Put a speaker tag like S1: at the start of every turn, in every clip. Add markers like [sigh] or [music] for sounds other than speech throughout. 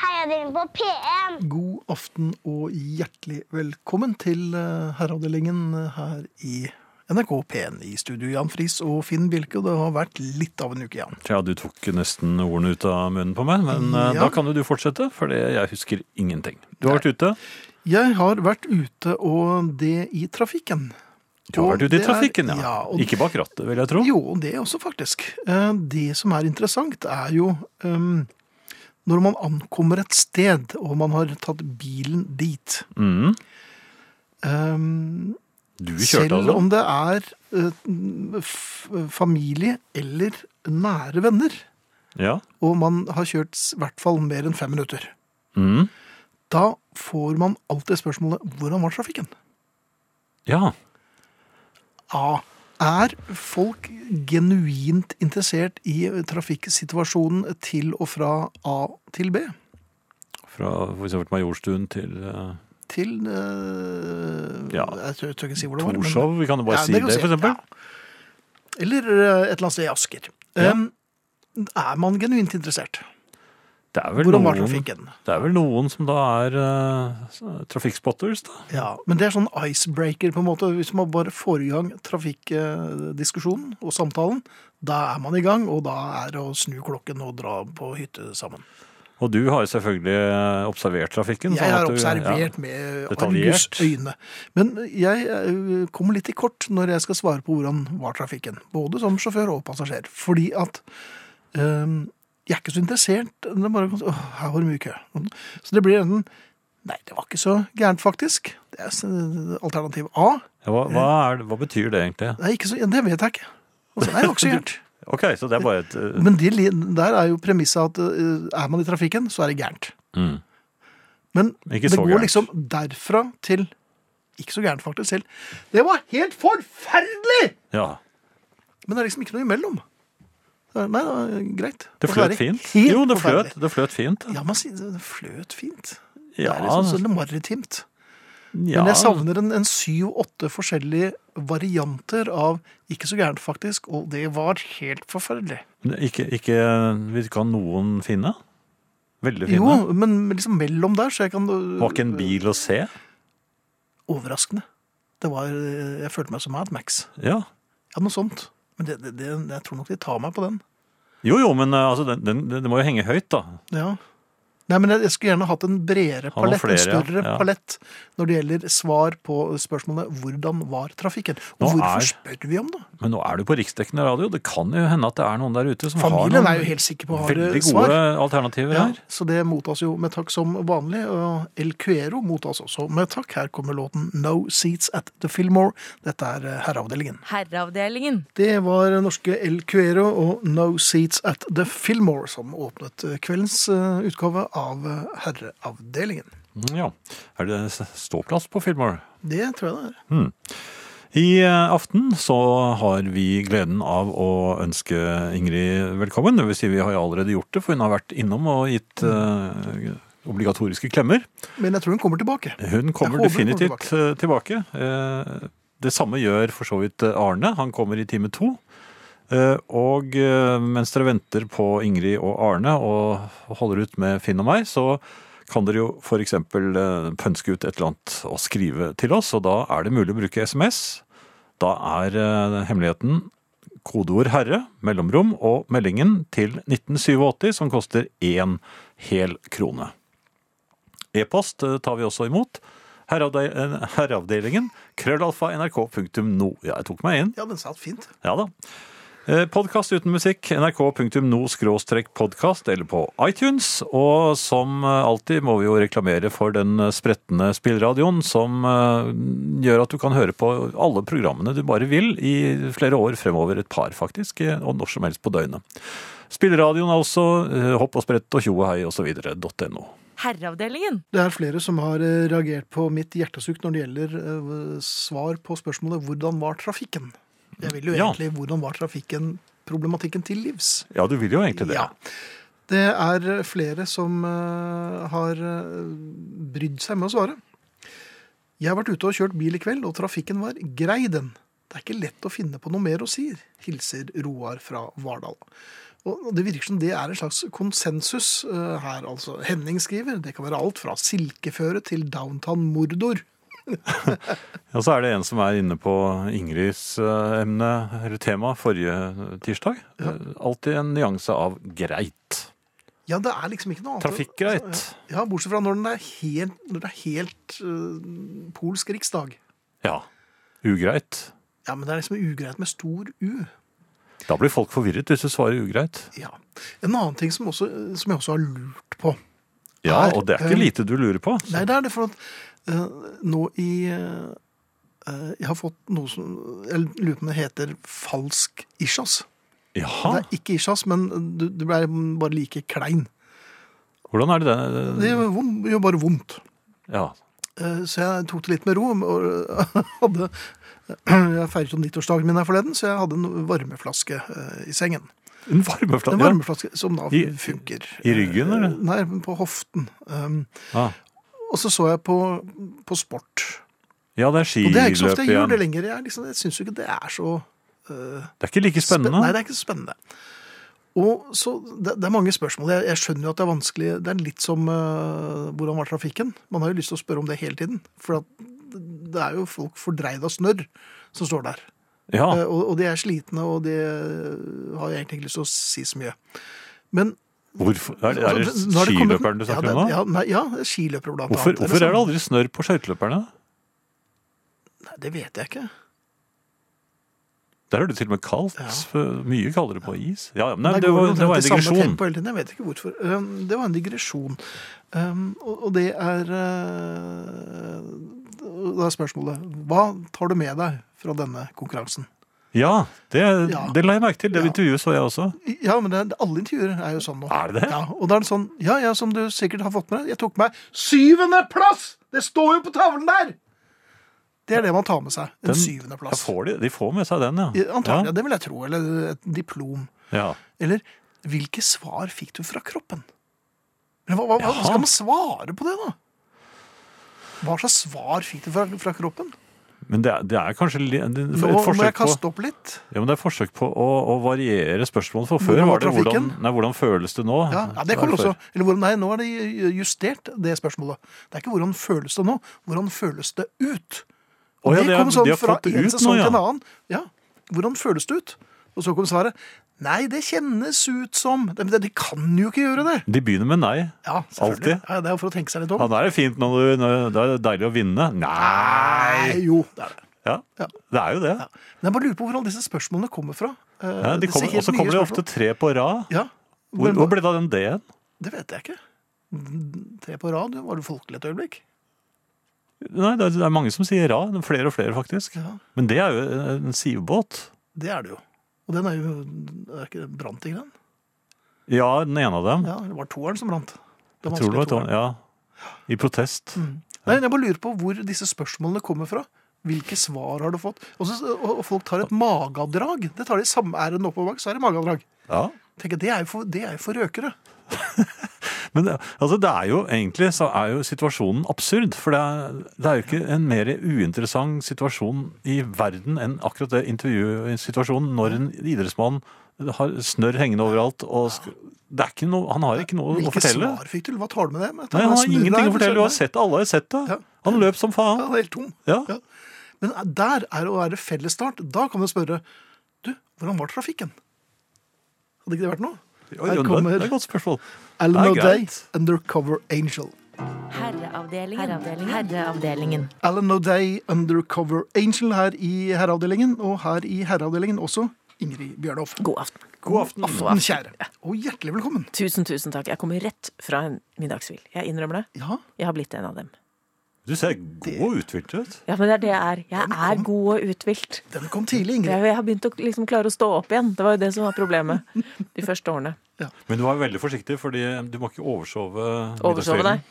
S1: Herreavdelingen på P1.
S2: God aften og hjertelig velkommen til eh, Herreavdelingen her i NRK P1 i studio. Jan Friis og Finn Bjelke, og det har vært litt av en uke, Jan.
S3: Ja, du tok nesten ordene ut av munnen på meg, men eh,
S2: Ja.
S3: da kan jo du fortsette, for det- jeg husker ingenting. Du har vært ute.
S2: Jeg har vært ute, og det i trafikken.
S3: Du har
S2: Og
S3: vært ute i
S2: det er-
S3: trafikken, ja.
S2: ja og,
S3: Ikke bak rattet, vil jeg tro.
S2: Jo, det også, faktisk. Eh, Det som er interessant, er jo ehm, når man ankommer et sted, og man har tatt bilen dit.
S3: Mm.
S2: Ehm,
S3: Du
S2: Selv
S3: kjørte altså.
S2: om det er eh, f familie eller nære venner,
S3: Ja.
S2: og man har kjørt s- i hvert fall mer enn fem minutter,
S3: Mm.
S2: da får man alltid spørsmålet 'Hvordan var trafikken?'
S3: Ja.
S2: A. Er folk genuint interessert i trafikksituasjonen til og fra A til B?
S3: Fra for eksempel Majorstuen til eh,
S2: Til eh,
S3: Ja.
S2: Jeg tør, tør ikke si hvor det var. men-
S3: Torshov. Vi kan jo bare
S2: Ja,
S3: si
S2: det kan
S3: det,
S2: vi
S3: for
S2: si,
S3: eksempel.
S2: Eller eh, et eller annet sted i Asker.
S3: Ja.
S2: Em, er man genuint interessert?
S3: Det er vel
S2: Hvordan var
S3: noen,
S2: trafikken?
S3: det er vel noen som da er eh, trafikkspotters, da.
S2: Ja, men det er sånn icebreaker på en måte. Hvis man bare får i gang trafikkdiskusjonen og samtalen, da er man i gang, og da er det å snu klokken og dra på hytte sammen.
S3: Og du har jo selvfølgelig eh, observert trafikken.
S2: Jeg
S3: sånn at
S2: har
S3: du-
S2: observert
S3: ja.
S2: med argus
S3: Detaljert.
S2: øyne. Men jeg eh, kommer litt i kort når jeg skal svare på hvordan var trafikken. Både som sjåfør og passasjer. Fordi at eh, jeg er ikke så interessert. Det er bare, åh, her var det mye kø. Så det blir enten Nei, det var ikke så gærent, faktisk. Det er s- alternativ A.
S3: Ja, hva, hva, er, det- hva betyr det egentlig?
S2: Nei, ikke så, ja, det vet jeg ikke. Altså, nei, det var ikke så gærent.
S3: Ok, så det er bare et eh,
S2: Men de, li- der er jo premisset at eh, er man i trafikken, så er det gærent.
S3: mm.
S2: Men
S3: Ikke
S2: det
S3: så
S2: går
S3: gærent.
S2: liksom derfra til Ikke så gærent, faktisk. Selv. Det var helt forferdelig!
S3: Ja.
S2: Men det er liksom ikke noe imellom. Det er- Nei, det var greit.
S3: Det
S2: Og så er
S3: fløt fint.
S2: helt
S3: Jo, det fløt,
S2: forferdelig.
S3: det fløt fint.
S2: Ja, man sier det fløt fint.
S3: Ja, altså.
S2: Det er liksom sånn maritimt.
S3: ja.
S2: Men jeg savner en, en syv-åtte forskjellige varianter av ikke så gærent, faktisk, og det var helt forferdelig.
S3: Men Ikke, ikke vi kan noen finne? Veldig fine.
S2: Jo, men liksom mellom der, så jeg kan øh,
S3: Var ikke en bil å se?
S2: Overraskende. Det var, øh, jeg følte meg som Mad Max.
S3: Ja.
S2: Ja, noe sånt. Men det, det, det, jeg tror nok de tar meg på den.
S3: Jo, jo, men eh, altså, den, den, den må jo henge høyt, da.
S2: Ja. Nei, men jeg, jeg skulle gjerne hatt en bredere
S3: Han
S2: palett,
S3: har
S2: en
S3: flere, ja.
S2: større
S3: Ja.
S2: palett, når det gjelder svar på spørsmålet 'Hvordan var trafikken?' Og
S3: Nå
S2: hvorfor
S3: er-
S2: spør vi om det?
S3: Men nå er du på riksdekkende radio. Det kan jo hende at det er noen der ute som
S2: Familien
S3: har
S2: er jo helt sikker på å ha
S3: veldig
S2: det
S3: gode
S2: svar.
S3: alternativer
S2: Ja,
S3: her.
S2: så det mottas jo med takk som vanlig, og El Cuero mottas også med takk. Her kommer låten 'No Seats at the Fillmore'. Dette er eh, Herreavdelingen.
S4: Herreavdelingen.
S2: Det var norske El Cuero og No Seats at the Fillmore som åpnet kveldens eh, utgave av eh, Herreavdelingen.
S3: Mm, Ja. Er det s- ståplass på Fillmore?
S2: Det tror jeg det er.
S3: Hmm. I eh, aften så har vi gleden av å ønske Ingrid velkommen. Det vil si vi har jo allerede gjort det, for hun har vært innom og gitt eh, obligatoriske klemmer.
S2: Men jeg tror hun kommer tilbake.
S3: Hun kommer
S2: Jeg håper hun
S3: definitivt
S2: kommer
S3: eh, tilbake. Eh, Det samme gjør for så vidt eh, Arne. Han kommer i time to. Eh, Og eh, mens dere venter på Ingrid og Arne og holder ut med Finn og meg, så kan dere jo f.eks. pønske ut et eller annet og skrive til oss. Og da er det mulig å bruke SMS. Da er eh, hemmeligheten kodeord 'herre', mellomrom og meldingen til 1987, som koster én hel krone. E-post eh, tar vi også imot. Herreavde- eh, Herreavdelingen, krøllalfa nrk.no. Ja, jeg tok meg inn.
S2: Ja, den satt fint.
S3: Ja da. Podkast uten musikk, nrk.no-podkast eller på iTunes. Og som eh, alltid må vi jo reklamere for den eh, spretne spillradioen som eh, gjør at du kan høre på alle programmene du bare vil i flere år fremover. Et par, faktisk, eh, og når som helst på døgnet. Spilleradioen er også eh, hopp og sprett og tjo og hei osv.no.
S4: Herreavdelingen.
S2: Det er flere som har eh, reagert på mitt hjertesukk når det gjelder eh, svar på spørsmålet 'Hvordan var trafikken?' Jeg vil jo
S3: Ja.
S2: egentlig 'Hvordan var trafikken?' problematikken til livs.
S3: Ja, du vil jo egentlig det.
S2: Ja. Det er flere som eh, har eh, brydd seg med å svare. Jeg har vært ute og kjørt bil i kveld, og trafikken var grei den. Det er ikke lett å finne på noe mer å si, hilser Roar fra Vardal. Og Det virker som det er en slags konsensus eh, her. altså. Henning skriver det kan være alt fra silkeføre til downtown Mordor.
S3: Ja, så er det en som er inne på Ingrids eh, emne, eller tema, forrige tirsdag.
S2: Ja.
S3: Eh, Alltid en nyanse av greit.
S2: Ja, det er liksom ikke noe annet.
S3: Trafikkgreit.
S2: Ja, Bortsett fra når den er helt, når det er helt eh, polsk riksdag.
S3: Ja. Ugreit.
S2: Ja, men det er liksom ugreit med stor U.
S3: Da blir folk forvirret hvis du svarer ugreit.
S2: Ja. En annen ting som, også, som jeg også har lurt på.
S3: Ja,
S2: Er,
S3: og det er
S2: eh,
S3: ikke lite du lurer på.
S2: Nei, det er det, for at eh, nå i eh, eh, Jeg har fått noe som Jeg lurer på om det heter falsk isjas.
S3: Jaha,
S2: Det er ikke isjas, men du, du ble bare like klein.
S3: hvordan er det det?
S2: Det gjør vom- det gjør bare vondt.
S3: Ja,
S2: Eh, Så jeg tok det litt med ro. og [laughs] hadde, Jeg feiret jo nyttårsdagen min her forleden, så jeg hadde en varmeflaske eh, i sengen.
S3: en varmeflate.
S2: En
S3: Ja.
S2: varmeflaske som da
S3: I-
S2: funker.
S3: i ryggen, eller?
S2: Eh, Nei, på hoften. Um,
S3: Ja.
S2: Og så så jeg på, på sport.
S3: ja, det er
S2: Og det er ikke så
S3: skiløp
S2: ofte jeg gjør
S3: igjen.
S2: det lenger. Jeg, er liksom, jeg syns jo ikke det er så eh,
S3: Det er ikke like
S2: spen- Nei,
S3: spennende.
S2: det er ikke så spennende. Og så, det, det er mange spørsmål. Jeg, jeg skjønner jo at det er vanskelig. Det er litt som eh, hvordan var trafikken? Man har jo lyst til å spørre om det hele tiden. For at det er jo folk fordreid av snørr som står der.
S3: Ja,
S2: Eh, og, og de er slitne, og de eh, har jeg egentlig ikke lyst til å si så mye. Men
S3: hvorfor? Er, det- er det
S2: altså, nå har kommet-
S3: skiløperen du snakker
S2: ja,
S3: om
S2: det-
S3: nå?
S2: Ja, nei, ja skiløpere blant
S3: Hvorfor,
S2: annet.
S3: hvorfor er det
S2: sånn?
S3: aldri snørr på skøyteløperne?
S2: Nei, Det vet jeg ikke.
S3: Der er det til og med kaldt.
S2: Ja.
S3: Mye kaldere på is. Ja, ja, men
S2: Der
S3: nei, det,
S2: går
S3: var, det var
S2: omtrent
S3: en
S2: i samme
S3: digresjon.
S2: tempo hele tiden, Jeg vet ikke hvorfor. Um, Det var en digresjon. Um, Og og det er uh, Da er spørsmålet Hva tar du med deg fra denne konkurransen?
S3: Ja, det,
S2: Ja.
S3: det la jeg merke til. Det
S2: Ja.
S3: intervjuet så jeg også.
S2: Ja, men det, er- alle intervjuer er jo sånn nå.
S3: Er det det?
S2: Ja, og da er det sånn Ja, ja, som du sikkert har fått med deg. Jeg tok meg syvendeplass! Det står jo på tavlen der! Det er det man tar med seg. En
S3: Den- Ja,
S2: syvendeplass.
S3: får de, de får med seg den, ja.
S2: Antagelig. Det vil jeg tro. Eller et diplom.
S3: Ja.
S2: Eller hvilke svar fikk du fra kroppen? Eller, hva, hva, hva
S3: Jaha.
S2: skal man svare på det, da? Hva slags svar fikk du fra, fra kroppen?
S3: ja. Men det er, det er kanskje li- det- det-
S2: Nå
S3: et
S2: må jeg
S3: forsøk på,
S2: kaste opp litt.
S3: ja, men det er forsøk på å, å variere spørsmålet. For før
S2: Hvordan var
S3: var det hvordan,
S2: trafikken?
S3: nei, hvordan føles det nå?
S2: Ja, ja det
S3: var
S2: kommer
S3: før.
S2: også. Eller, hvor- nei, nå er det justert, det spørsmålet. Det er ikke hvordan føles det nå, hvordan føles det ut? Og
S3: Å ja,
S2: det,
S3: det er-
S2: kom sånn
S3: de har
S2: fra
S3: fått det
S2: en
S3: ut nå,
S2: sesong
S3: ja.
S2: til en annen. Ja, hvordan føles det ut? Og så kom svaret. Nei, det kjennes ut som Det, det, det kan jo ikke gjøre det!
S3: De begynner med nei.
S2: Ja, selvfølgelig. Ja, det er jo for å tenke seg litt om.
S3: Ja, da er det fint når du når, Da er det deilig å vinne. Nei!
S2: Nei, jo, det er det.
S3: Ja,
S2: Ja.
S3: det er jo det.
S2: Men jeg bare lurer på hvordan disse spørsmålene kommer fra. Eh,
S3: Ja, de
S2: disse
S3: kommer,
S2: helt
S3: og så
S2: nye
S3: kommer det ofte
S2: spørsmålene.
S3: tre på rad.
S2: ja.
S3: Hvor,
S2: Men
S3: hvor ble det av den D-en?
S2: Det vet jeg ikke. Tre på rad, var det folkelig et øyeblikk?
S3: Nei, det er, det er mange som sier ra. Flere og flere, faktisk.
S2: Ja.
S3: Men det er jo en sivbåt.
S2: Det er det jo. Og den er jo er ikke det brant ikke den?
S3: Ja, den ene av dem.
S2: Ja, det var toeren som brant. Den
S3: Jeg tror det var
S2: vanskelige
S3: et år. Ja. I protest.
S2: toeren. Nei, jeg bare lurer på hvor disse spørsmålene kommer fra. Hvilke svar har du fått? Og, så, og og folk tar et magedrag. Det tar de samme æren oppover bak, så er det magedrag.
S3: Ja.
S2: Tenker, jeg, det, er jo for, det er jo for røkere.
S3: Men det- altså, det er jo egentlig så er jo situasjonen absurd. For det er, det er jo ikke en mer uinteressant situasjon i verden enn akkurat det intervjusituasjonen når en idrettsmann har snørr hengende overalt. og sk- det er ikke noe, Han har ikke noe å
S2: Hvilke
S3: fortelle.
S2: svar fikk du? Hva tar du med det?
S3: Nei, Han har ingenting å fortelle. Du har sett det. Alle har sett
S2: Ja.
S3: det. Han løp som
S2: Ja,
S3: faen.
S2: det er helt tom.
S3: Ja.
S2: Ja. Men eh, der er å være fellesstart. Da kan du spørre Du, hvordan var trafikken? Hadde ikke det vært noe?
S3: Oi,
S2: Her
S3: det
S2: kommer-
S3: er et godt spørsmål.
S2: Alan
S3: Det er
S2: O'Day,
S3: greit.
S2: Undercover Angel.
S4: Herreavdelingen. Herreavdelingen. Herreavdelingen.
S2: Alan O'Day, Undercover Angel her i Herreavdelingen, og her i Herreavdelingen også Ingrid Bjørnhoff.
S1: God aften.
S2: God aften. kjære. Og hjertelig velkommen.
S1: Tusen, tusen takk. Jeg kommer rett fra en middagshvil. Jeg innrømmer det.
S2: Ja,
S1: Jeg har blitt en av dem.
S3: Du ser god og uthvilt ut.
S1: Ja, men det er det jeg er. Jeg er god og uthvilt.
S2: den kom tidlig,
S1: Jeg,
S2: Ingrid.
S1: jeg har begynt å liksom klare å stå opp igjen. Det var jo det som var problemet de første årene.
S3: Men du var veldig forsiktig, fordi eh, du må ikke oversove
S1: Oversove
S3: middagshøyden.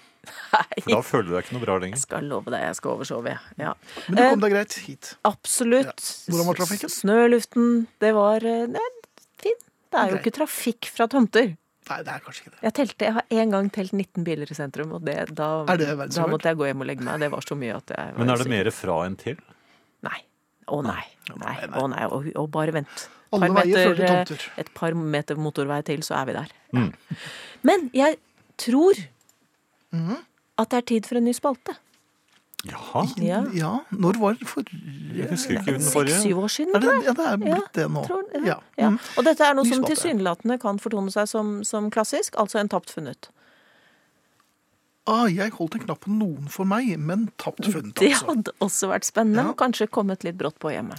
S1: deg. [laughs]
S3: For da føler du deg ikke noe bra lenger.
S1: Jeg skal love deg, jeg skal oversove, jeg. Ja.
S2: Men du
S1: Eh,
S2: kom deg greit hit.
S1: Absolutt.
S2: Ja. Hvordan var trafikken?
S1: S- Snøluften. Det var eh, nei, fin. Det er jo
S2: Ok.
S1: ikke trafikk fra tomter.
S2: Nei, det er kanskje ikke det.
S1: Jeg telte, jeg har en gang telt 19 biler i sentrum, og det, da,
S2: Er det verdensrekord?
S1: da måtte jeg gå hjem og legge meg. Det var så mye at jeg var
S3: Men er det
S1: usikker.
S3: mer fra enn til?
S1: Nei. Å nei. nei.
S2: Nei, nei.
S1: Å nei. Og, og bare vent. Et
S2: Alle
S1: par
S2: veier fører til
S1: meter, eh,
S2: tomter.
S1: Et par meter motorvei til, så er vi der.
S3: Mm.
S1: Men jeg tror
S2: Mm-hmm.
S1: at det er tid for en ny spalte.
S3: Jaha.
S1: Ja.
S2: Ja, når var det forrige
S3: Jeg husker ikke den forrige.
S1: Seks-syv år siden,
S2: Er det,
S1: tror jeg.
S2: ja, det er blitt det nå.
S1: Tror, ja.
S2: Ja.
S1: Ja.
S2: Mm.
S1: Og dette er noe
S2: Ny
S1: som
S2: spalte.
S1: tilsynelatende kan fortone seg som, som klassisk, altså en tapt funnet.
S2: Ah, jeg holdt en knapp på noen for meg, men tapt
S1: [laughs]
S2: funnet,
S1: Det
S2: altså.
S1: hadde også vært spennende,
S2: Ja.
S1: og kanskje kommet litt brått på hjemme.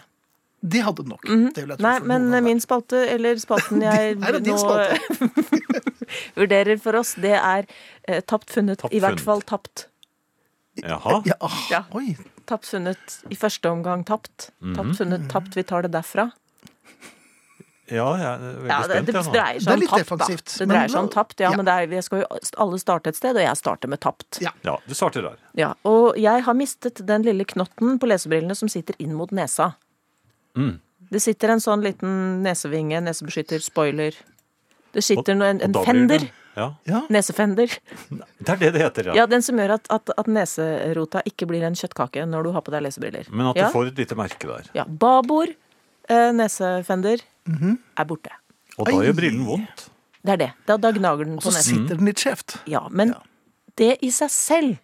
S2: De hadde den nok. Det vil jeg tro
S1: Mhm. Nei,
S2: for
S1: men eh,
S2: noen av dem.
S1: min spalte, eller
S2: [laughs]
S1: spalten jeg
S2: Her eh, er din
S1: nå eh,
S2: spalte.
S1: [laughs] vurderer for oss, det er eh, tapt funnet.
S3: Tapt
S1: I hvert
S3: funnet.
S1: fall tapt.
S3: Jaha.
S2: Ja, ah,
S1: Ja.
S2: Oi,
S1: Tapt funnet i første omgang tapt.
S3: Mhm.
S1: Tapt funnet tapt, vi tar det derfra.
S3: Ja, jeg er
S1: Ja,
S3: veldig
S1: det,
S3: spent. jeg
S1: det
S3: nå.
S2: Det
S1: dreier
S2: er
S1: seg om
S2: litt
S1: tapt, da.
S2: defensivt,
S1: Det
S2: men
S1: dreier seg om
S2: la-
S1: tapt, ja,
S2: ja.
S1: men det er, vi skal jo alle starte et sted, og jeg starter med tapt.
S2: Ja.
S3: Ja, du starter der.
S1: Ja, og jeg har mistet den lille knotten på lesebrillene som sitter inn mot nesa.
S3: Mm.
S1: Det sitter en sånn liten nesevinge, nesebeskytter, spoiler. Det sitter no- en,
S3: Og
S1: en
S3: da blir
S1: fender.
S3: det- Ja,
S2: ja.
S1: Nesefender.
S3: Det er det det heter, ja.
S1: Ja, den som gjør at, at, at neserota ikke blir en kjøttkake når du har på deg lesebriller.
S3: Men at du
S1: ja?
S3: får et lite merke der.
S1: Ja. Babord, eh, nesefender, er borte.
S3: Og da
S2: Ai.
S3: gjør brillen vondt.
S1: Det er det. Da, da gnager den
S2: Og
S1: på
S2: så
S3: Altså,
S1: nesen.
S2: sitter den litt skjevt.
S1: Sånn Ja, men
S2: Ja.
S1: det i seg selv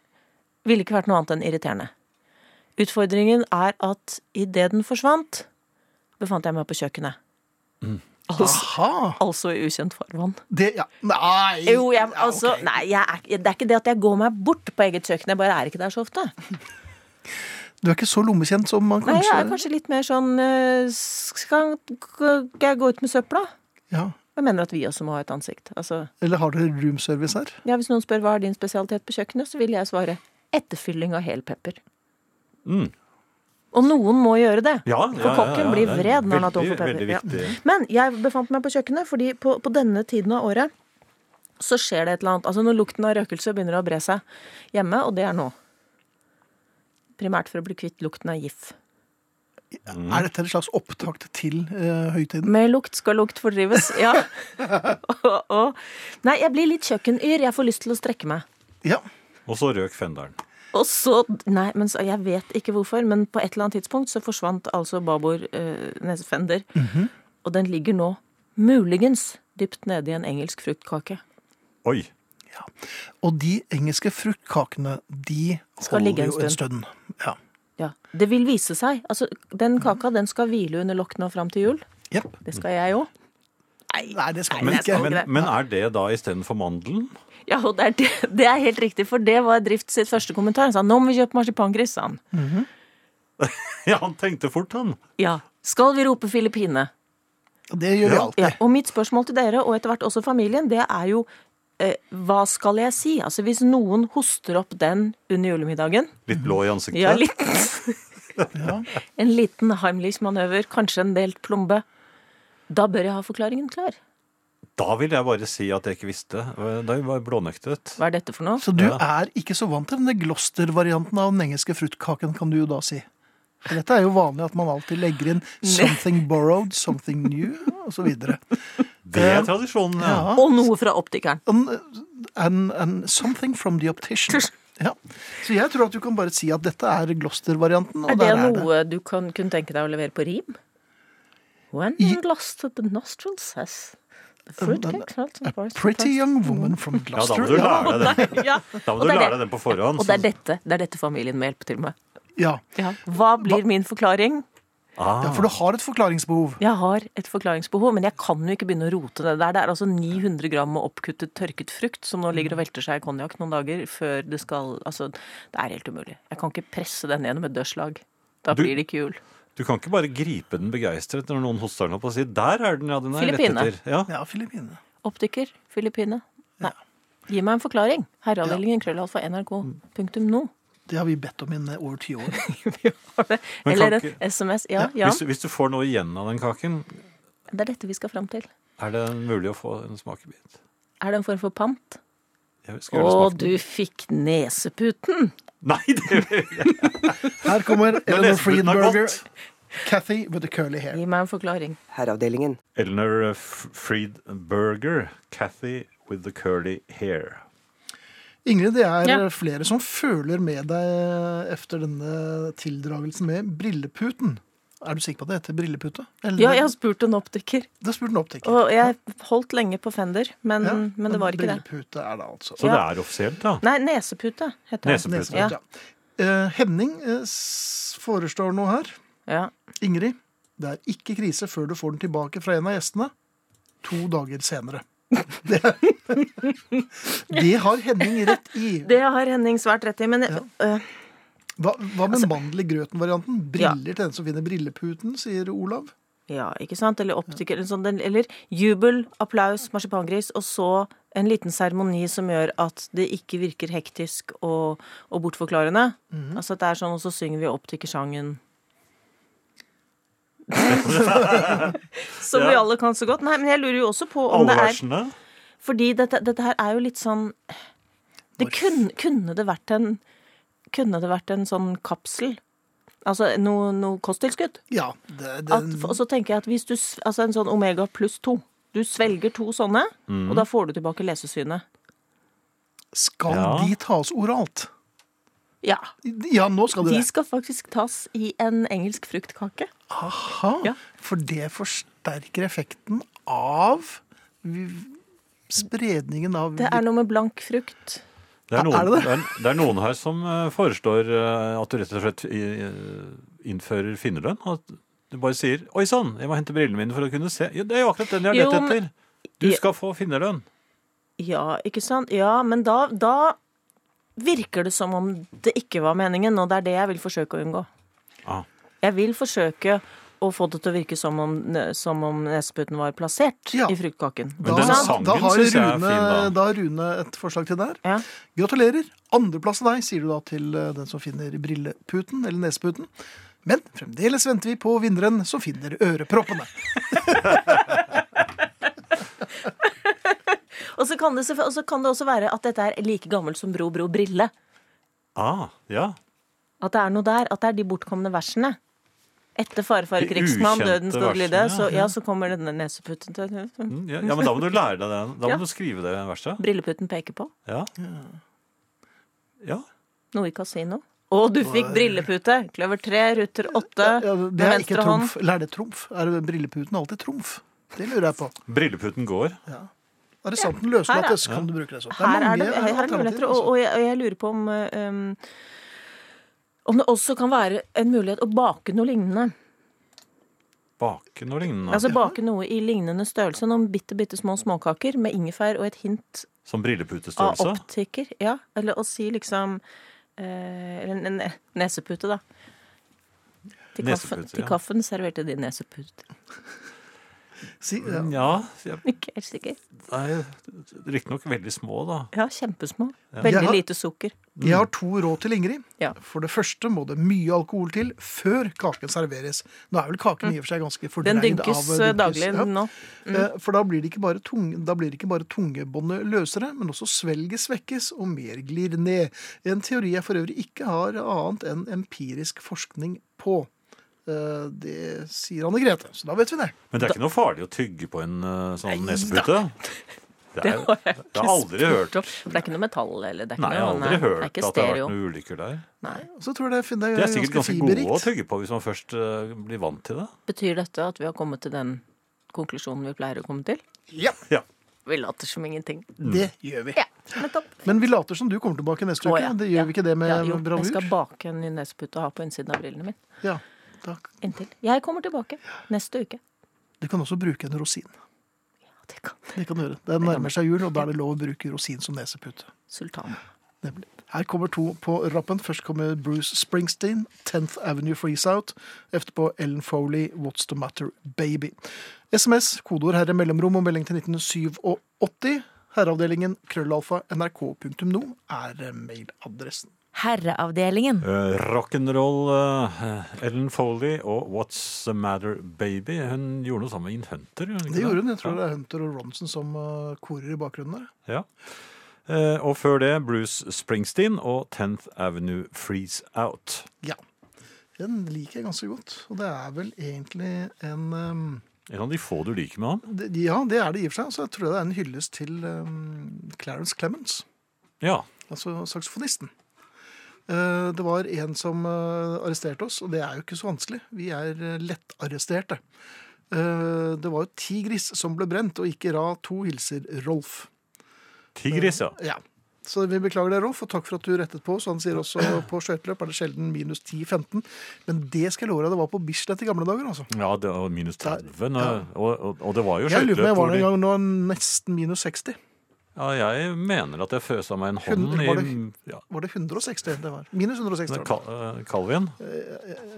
S1: ville ikke vært noe annet enn irriterende. Utfordringen er at idet den forsvant, befant jeg meg på kjøkkenet.
S3: Mm.
S1: Altså,
S2: Aha!
S1: altså i ukjent farvann.
S2: Det, ja. Nei!
S1: Jo, jeg,
S2: Ja,
S1: altså,
S2: ok.
S1: nei, jeg er, ikke- det er ikke det at jeg går meg bort på eget kjøkken, jeg bare er ikke der så ofte.
S2: Du er ikke så lommekjent som man
S1: Nei,
S2: kanskje
S1: jeg er kanskje litt mer sånn eh, Skal skal jeg gå ut med søpla?
S2: ja.
S1: Jeg mener at vi også må ha et ansikt. Altså,
S2: Eller har dere roomservice her?
S1: ja, hvis noen spør hva er din spesialitet på kjøkkenet, så vil jeg svare etterfylling av hel pepper.
S3: Mm.
S1: Og noen må gjøre det.
S3: Ja,
S1: For kokken blir
S3: det er
S1: vred når han har tom
S3: veldig,
S1: for pepper.
S3: Veldig
S1: Ja.
S3: viktig.
S1: Men jeg befant meg på kjøkkenet, fordi på, på denne tiden av året så skjer det et eller annet. Altså når lukten av røkelse begynner å bre seg hjemme, og det er nå. Primært for å bli kvitt lukten av GIF.
S3: Mm.
S2: Er dette et slags opptakt til eh, høytiden?
S1: Med lukt skal lukt fordrives. Ja. og, og. Nei, jeg blir litt kjøkkenyr. Jeg får lyst til å strekke meg.
S2: Ja.
S3: Og så røk fenderen.
S1: Og så Nei, men så, jeg vet ikke hvorfor, men på et eller annet tidspunkt så forsvant altså babord eh, nesefender. Og den ligger nå muligens dypt nede i en engelsk fruktkake.
S3: Oi.
S2: Og de engelske fruktkakene, de
S1: Skal
S2: holder
S1: ligge en
S2: jo en stund. Ja.
S1: Ja. Det vil vise seg. Altså, den kaka den skal hvile under lokk nå fram til jul.
S2: Jep.
S1: Det skal jeg òg.
S2: Nei, det skal
S3: Men,
S2: man
S1: det er
S2: ikke.
S1: sant.
S3: men,
S1: greit.
S3: men er det da istedenfor mandelen? [laughs]
S1: Ja, og det er, det, det er helt riktig, for det var Drift sitt første kommentar. Han sa 'nå må vi kjøpe marsipangris', sa han.
S3: Ja, han tenkte fort, han.
S1: Ja. Skal vi rope Filippine?
S2: Det gjør vi alltid.
S1: sånn. Ja, og mitt spørsmål til dere, og etter hvert også familien, det er jo eh, hva skal jeg si? Altså hvis noen hoster opp den under julemiddagen
S3: Litt blå i ansiktet.
S1: Ja, litt.
S2: [laughs] Ja.
S1: En liten Heimlich-manøver, kanskje en delt plombe. Da bør jeg ha forklaringen klar.
S3: Da vil jeg bare si at jeg ikke visste. Da var jeg blånektet.
S1: Hva er dette for noe?
S2: Så du
S3: Ja.
S2: er ikke så vant til denne Gloucester-varianten av den engelske fruktkaken, kan du jo da si. For dette er jo vanlig at man alltid legger
S1: [laughs]
S2: inn 'something borrowed', 'something new', osv.
S3: Det er tradisjonen, ja.
S2: Ja.
S1: Og noe fra optikeren.
S2: And, and, and 'something from the optician'. Ja. Så jeg tror at du kan bare si at dette er Gloucester-varianten, og
S1: Er det
S2: der er det.
S1: noe du kan, kunne tenke deg å levere på rim? When
S2: I- Um,
S1: lost at the nostrils has the fruit cake smells and boils-
S2: Pretty young woman from
S3: Ja, da må
S2: Gloucester.
S3: du lære deg den.
S1: [laughs] Ja,
S3: Da må
S1: og
S3: du
S1: det er
S3: lære deg
S1: det.
S3: den på forhånd.
S1: Og det er dette, det er dette familien må hjelpe til med.
S2: Ja.
S1: Hva blir min forklaring?
S3: Ah,
S2: ja, for du har et forklaringsbehov.
S1: Jeg har et forklaringsbehov, men jeg kan jo ikke begynne å rote det der. Det er altså 900 gram med oppkuttet tørket frukt som nå ligger og velter seg i konjakk noen dager før det skal Altså, det er helt umulig. Jeg kan ikke presse den gjennom et dørslag. Da
S3: Du-
S1: blir det ikke jul.
S3: Du kan ikke bare gripe den begeistret når noen hoster den opp og si 'der er den', ja. Den er lett
S1: Filippine.
S3: etter. Ja.
S2: Ja, Filippinene.
S1: Optiker, Filippine. Nei. Gi meg en forklaring. Herreavdelingen krøllalfa nrk.no.
S2: Det har vi bedt om innen over ti
S1: [laughs]
S2: år.
S3: Men kan
S1: Eller
S3: ikke-
S1: en SMS. Ja, ja.
S3: Hvis, du- hvis du får noe igjen av den kaken,
S1: Det er dette vi skal fram til.
S3: er det mulig å få en smakebit?
S1: Er det en form for pant?
S3: Jeg skal
S1: Å,
S3: gjøre det smakende.
S1: du fikk neseputen!
S3: [laughs] Nei, det vil jeg ikke.
S2: Her kommer Eleanor
S3: leser vi den har
S2: Friedberger.
S3: gått.
S2: Cathy with the curly hair.
S1: Gi meg en forklaring.
S5: Herreavdelingen.
S3: Eleanor eh, F- Friedberger, Cathy with the curly hair.
S2: Ingrid, det er eh,
S1: Ja.
S2: flere eh, som føler med deg efter denne tildragelsen med brilleputen. Er du sikker på at det heter brillepute? Eller-
S1: Ja, jeg har spurt en optiker,
S2: Du har spurt en optiker.
S1: og jeg holdt lenge på Fender, men,
S2: Ja,
S1: men det var ikke det.
S2: Brillepute er det altså.
S3: Så
S1: Ja.
S3: det er offisielt, da.
S1: Nei, nesepute heter det.
S3: Nesepute.
S2: Nesepute,
S1: Ja.
S2: ja. Eh, Henning eh, s- forestår noe her.
S1: Ja.
S2: Ingrid, det er ikke krise før du får den tilbake fra en av gjestene to dager senere. [laughs] Det, det har Henning rett i.
S1: Det har Henning svært rett i, men øh,
S2: Hva, hva med mandel i grøten-varianten?
S1: Altså- Ja.
S2: Briller til den som finner brilleputen, sier Olav.
S1: Ja, ikke sant? Eller optiker. eller Sånn, den- eller jubel, applaus, marsipangris, og så en liten seremoni som gjør at det ikke virker hektisk og, og bortforklarende.
S2: Mhm.
S1: Altså at det er sånn, og så synger vi
S2: [laughs]
S1: optikersangen. som vi
S3: Ja.
S1: alle kan så godt. Nei, men jeg lurer jo også på om
S3: Alle
S1: det er
S3: versene.
S1: fordi dette, dette her er jo litt sånn det kunne, kunne det vært en Kunne det vært en sånn kapsel? Altså noe no kosttilskudd?
S2: Ja, det,
S1: At,
S2: den,
S1: og så tenker jeg at hvis du s- Altså en sånn omega pluss to. Du svelger to sånne, og
S2: Mhm.
S1: da får du tilbake lesesynet.
S2: skal
S3: Ja.
S2: de tas oralt?
S1: Ja.
S2: Ja, nå skal de
S1: De
S2: det.
S1: skal faktisk tas i en engelsk fruktkake.
S2: Aha,
S1: Ja.
S2: For det forsterker effekten av vi- spredningen av
S1: Det er noe med blank frukt.
S3: Det er, noen,
S2: Er det det?
S3: det, er, det er noen her som eh, foreslår eh, at du rett og slett eh, innfører finnerlønn. At du bare sier 'oi sann, jeg må hente brillene mine for å kunne se'. Ja, det er jo akkurat den jeg har
S1: Jo,
S3: lett
S1: men-
S3: etter. Du skal få finnerlønn.
S1: Ja, ikke sant? Ja, men da, da virker det som om det ikke var meningen, og det er det jeg vil forsøke å unngå.
S3: Ah.
S1: Jeg vil forsøke å få det til å virke som om, som om neseputen var plassert
S2: Ja.
S1: i fruktkaken.
S3: Men den
S1: Ikke sant?
S3: sangen
S2: da har
S3: synes jeg er
S2: Rune,
S3: fin, da.
S2: da har Rune et forslag til der.
S1: Ja.
S2: Gratulerer. Andreplass til deg, sier du da til eh, den som finner brilleputen eller neseputen. Men fremdeles venter vi på vinneren som finner øreproppene.
S1: Og, så kan det, selvfø- og så kan det også være at dette er like gammelt som Bro Bro Brille.
S3: Ah, ja.
S1: At det er noe der. At det er de bortkomne versene. Etter farfar
S3: De
S1: krigsmann,
S3: ukjente
S1: døden skal lide,
S3: versene,
S1: så,
S3: ja.
S1: ja, så kommer denne neseputen til
S3: Mm, ja. Ja, men da må du lære deg det. Da må
S1: Ja.
S3: du skrive det verset.
S1: Brilleputten peker på.
S3: Ja. ja.
S1: Noe i kasino. Å, du fikk brillepute! Kløver tre, ruter åtte.
S2: Ja,
S1: Med
S2: det er ikke
S1: venstre hånd.
S2: trumf. Eller er det trumf? Er det brilleputen alltid trumf? Det lurer jeg på.
S3: Brilleputen går.
S2: Arrestanten
S1: her er-
S2: løslates, kan du bruke det som.
S1: Her er det,
S2: mange, eh,
S1: her er det
S2: alternativer,
S1: muligheter, og,
S2: altså.
S1: og, jeg, og jeg lurer på om eh, um, om det også kan være en mulighet å bake noe lignende.
S3: Bake noe lignende.
S1: Altså Bake noe i lignende størrelse. Noen bitte bitte små småkaker med ingefær og et hint
S3: Som
S1: av
S3: brilleputestørrelse.
S1: optiker. Ja, Eller å si liksom eh, Eller en- en ne- nesepute, da. Til kaffen,
S3: Nesepute,
S1: til
S3: ja.
S1: kaffen serverte de nesepute. [laughs]
S2: Si, ja.
S3: Mm, Ja. ja.
S1: Ikke helt sikker.
S3: Riktignok veldig små, da.
S1: Ja, kjempesmå.
S2: Jeg
S1: Veldig
S2: har-
S1: lite sukker.
S2: Jeg har to råd til Ingrid.
S1: Ja.
S2: For det første må det mye alkohol til før kaken serveres. Nå er vel kaken i og for seg ganske fordreid
S1: Den
S2: av
S1: dynkes eh, daglig
S2: Ja.
S1: nå. mm.
S2: Eh, For da blir det ikke bare, tung, da blir det ikke bare tungebåndet løsere, men også svelget svekkes og mer glir ned. En teori jeg for øvrig ikke har annet enn empirisk forskning på. Eh, Det sier Anne Grete, så da vet vi det.
S3: Men det er ikke noe farlig å tygge på en eh, sånn
S1: Nei da.
S3: nesepute? Det,
S1: Det
S3: er,
S1: har jeg
S3: det
S1: ikke
S3: har aldri hørt.
S1: spurt om. For det er ikke noe metall eller det er ikke
S3: Nei, jeg har
S1: noe,
S3: aldri hørt
S1: det er
S3: at
S1: ikke
S3: det har
S1: stereo.
S3: vært noen ulykker der.
S1: Nei.
S2: Og så tror jeg det fin- det er,
S3: De er sikkert
S2: ganske
S3: ganske gode å
S2: fiberrikt.
S3: tygge på hvis man først eh, blir vant til det.
S1: Betyr dette at vi har kommet til den konklusjonen vi pleier å komme til?
S2: Ja,
S3: Ja.
S1: Vi later som ingenting.
S3: Mm.
S2: det gjør vi.
S1: Ja, nettopp.
S2: Men vi later som du kommer tilbake neste uke.
S1: Å, ja.
S2: Det gjør
S1: Ja.
S2: vi ikke det med
S1: Ja, jo, jeg skal
S2: bravur?
S1: bake en ny nesepute og ha på innsiden av brillene mine.
S2: Ja, takk.
S1: Inntil. Jeg kommer tilbake neste uke.
S2: Du kan også bruke en rosin.
S1: Ja, det kan
S2: Det kan du gjøre. Det nærmer seg jul, og da er det lov å bruke rosin som nesepute.
S1: sultanen.
S2: Nemlig. Her kommer to på rappen. Først kommer Bruce Springsteen, 10th Avenue Freeze Out. Etterpå Ellen Foley, What's The Matter Baby. SMS, kodeord herre mellomrom og melding til 1987. Herreavdelingen krøllalfa nrk.no er eh, mailadressen.
S4: Herreavdelingen.
S3: Eh, Rock'n'roll eh, Ellen Foley og What's the Matter Baby. Hun gjorde noe sammen med In Hunter. gjorde hun ikke
S2: Det gjorde hun. Jeg tror det er Hunter og Ronson som eh, korer i bakgrunnen der.
S3: Ja. Eh, Og før det Bruce Springsteen og 10th Avenue Freeze Out.
S2: Ja. Den liker jeg ganske godt. Og det er vel egentlig en eh,
S3: En av de få du liker med han.
S2: det, Ja, det er det i og for seg. Så jeg tror det er en hyllest til eh, Clarence Clemens.
S3: Ja.
S2: altså saksofonisten. Eh, Det var en som eh, arresterte oss, og det er jo ikke så vanskelig. Vi er eh, lettarresterte. Eh, Det var jo Tigris som ble brent, og ikke Ra. To hilser Rolf.
S3: Tigris, ja.
S2: Ja. Så vi beklager deg, Rolf, og takk for at du rettet på oss. Han sier også på skøyteløp er det sjelden minus 10-15. Men det skal jeg love deg, det var på Bislett i gamle dager, altså.
S3: Ja, det var minus 30. nå,
S2: Ja.
S3: Og, og, og det var jo
S2: Jeg lurer på om jeg
S3: skøyteløp
S2: var
S3: hvor
S2: der
S3: de
S2: en gang nå nesten minus 60.
S3: ja, Jeg mener at jeg føsa meg en hånd
S2: Hundre-
S3: i
S2: var det-
S3: ja,
S2: Var det 160 det var? Minus 160. var det.
S3: kal eh, Kalvin.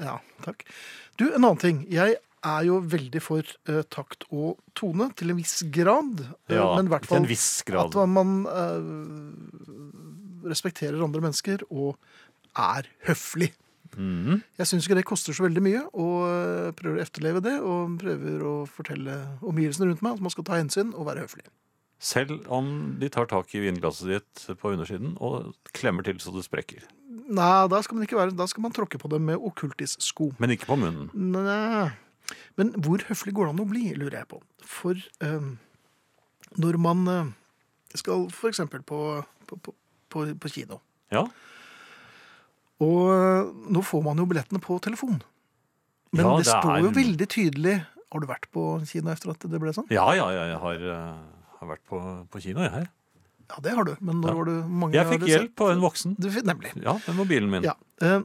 S2: Ja, takk. Du, en annen ting. Jeg er jo veldig for eh, takt og tone, til en viss grad. eh,
S3: Ja,
S2: men i hvert
S3: til
S2: fall
S3: en viss
S2: at
S3: grad.
S2: man, eh, respekterer andre mennesker og er høflig.
S3: Mhm.
S2: Jeg syns ikke det koster så veldig mye, og eh, prøver å efterleve det. Og prøver å fortelle omgivelsene rundt meg at man skal ta hensyn og være høflig.
S3: Selv om de tar tak i vinglasset ditt på undersiden og klemmer til så det sprekker.
S2: Nei, da skal man ikke være, da skal man tråkke på dem med okkultis-sko.
S3: Men ikke på munnen.
S2: Nei. Men hvor høflig går det an å bli, lurer jeg på. For eh, når man eh, skal f.eks. På, på, på, på, på kino
S3: Ja,
S2: Og eh, nå får man jo billettene på telefon. Men
S3: Ja,
S2: det,
S3: det
S2: står
S3: er-
S2: jo veldig tydelig Har du vært på kino etter at det ble sånn?
S3: ja, ja, ja jeg har, eh, har vært på, på kino, jeg her.
S2: Ja, det har du. Men når
S3: Ja.
S2: var du mange
S3: Jeg
S2: har du
S3: fikk
S2: sett?
S3: hjelp av en voksen.
S2: Du fikk- nemlig.
S3: Ja, med mobilen min.
S2: Ja. eh,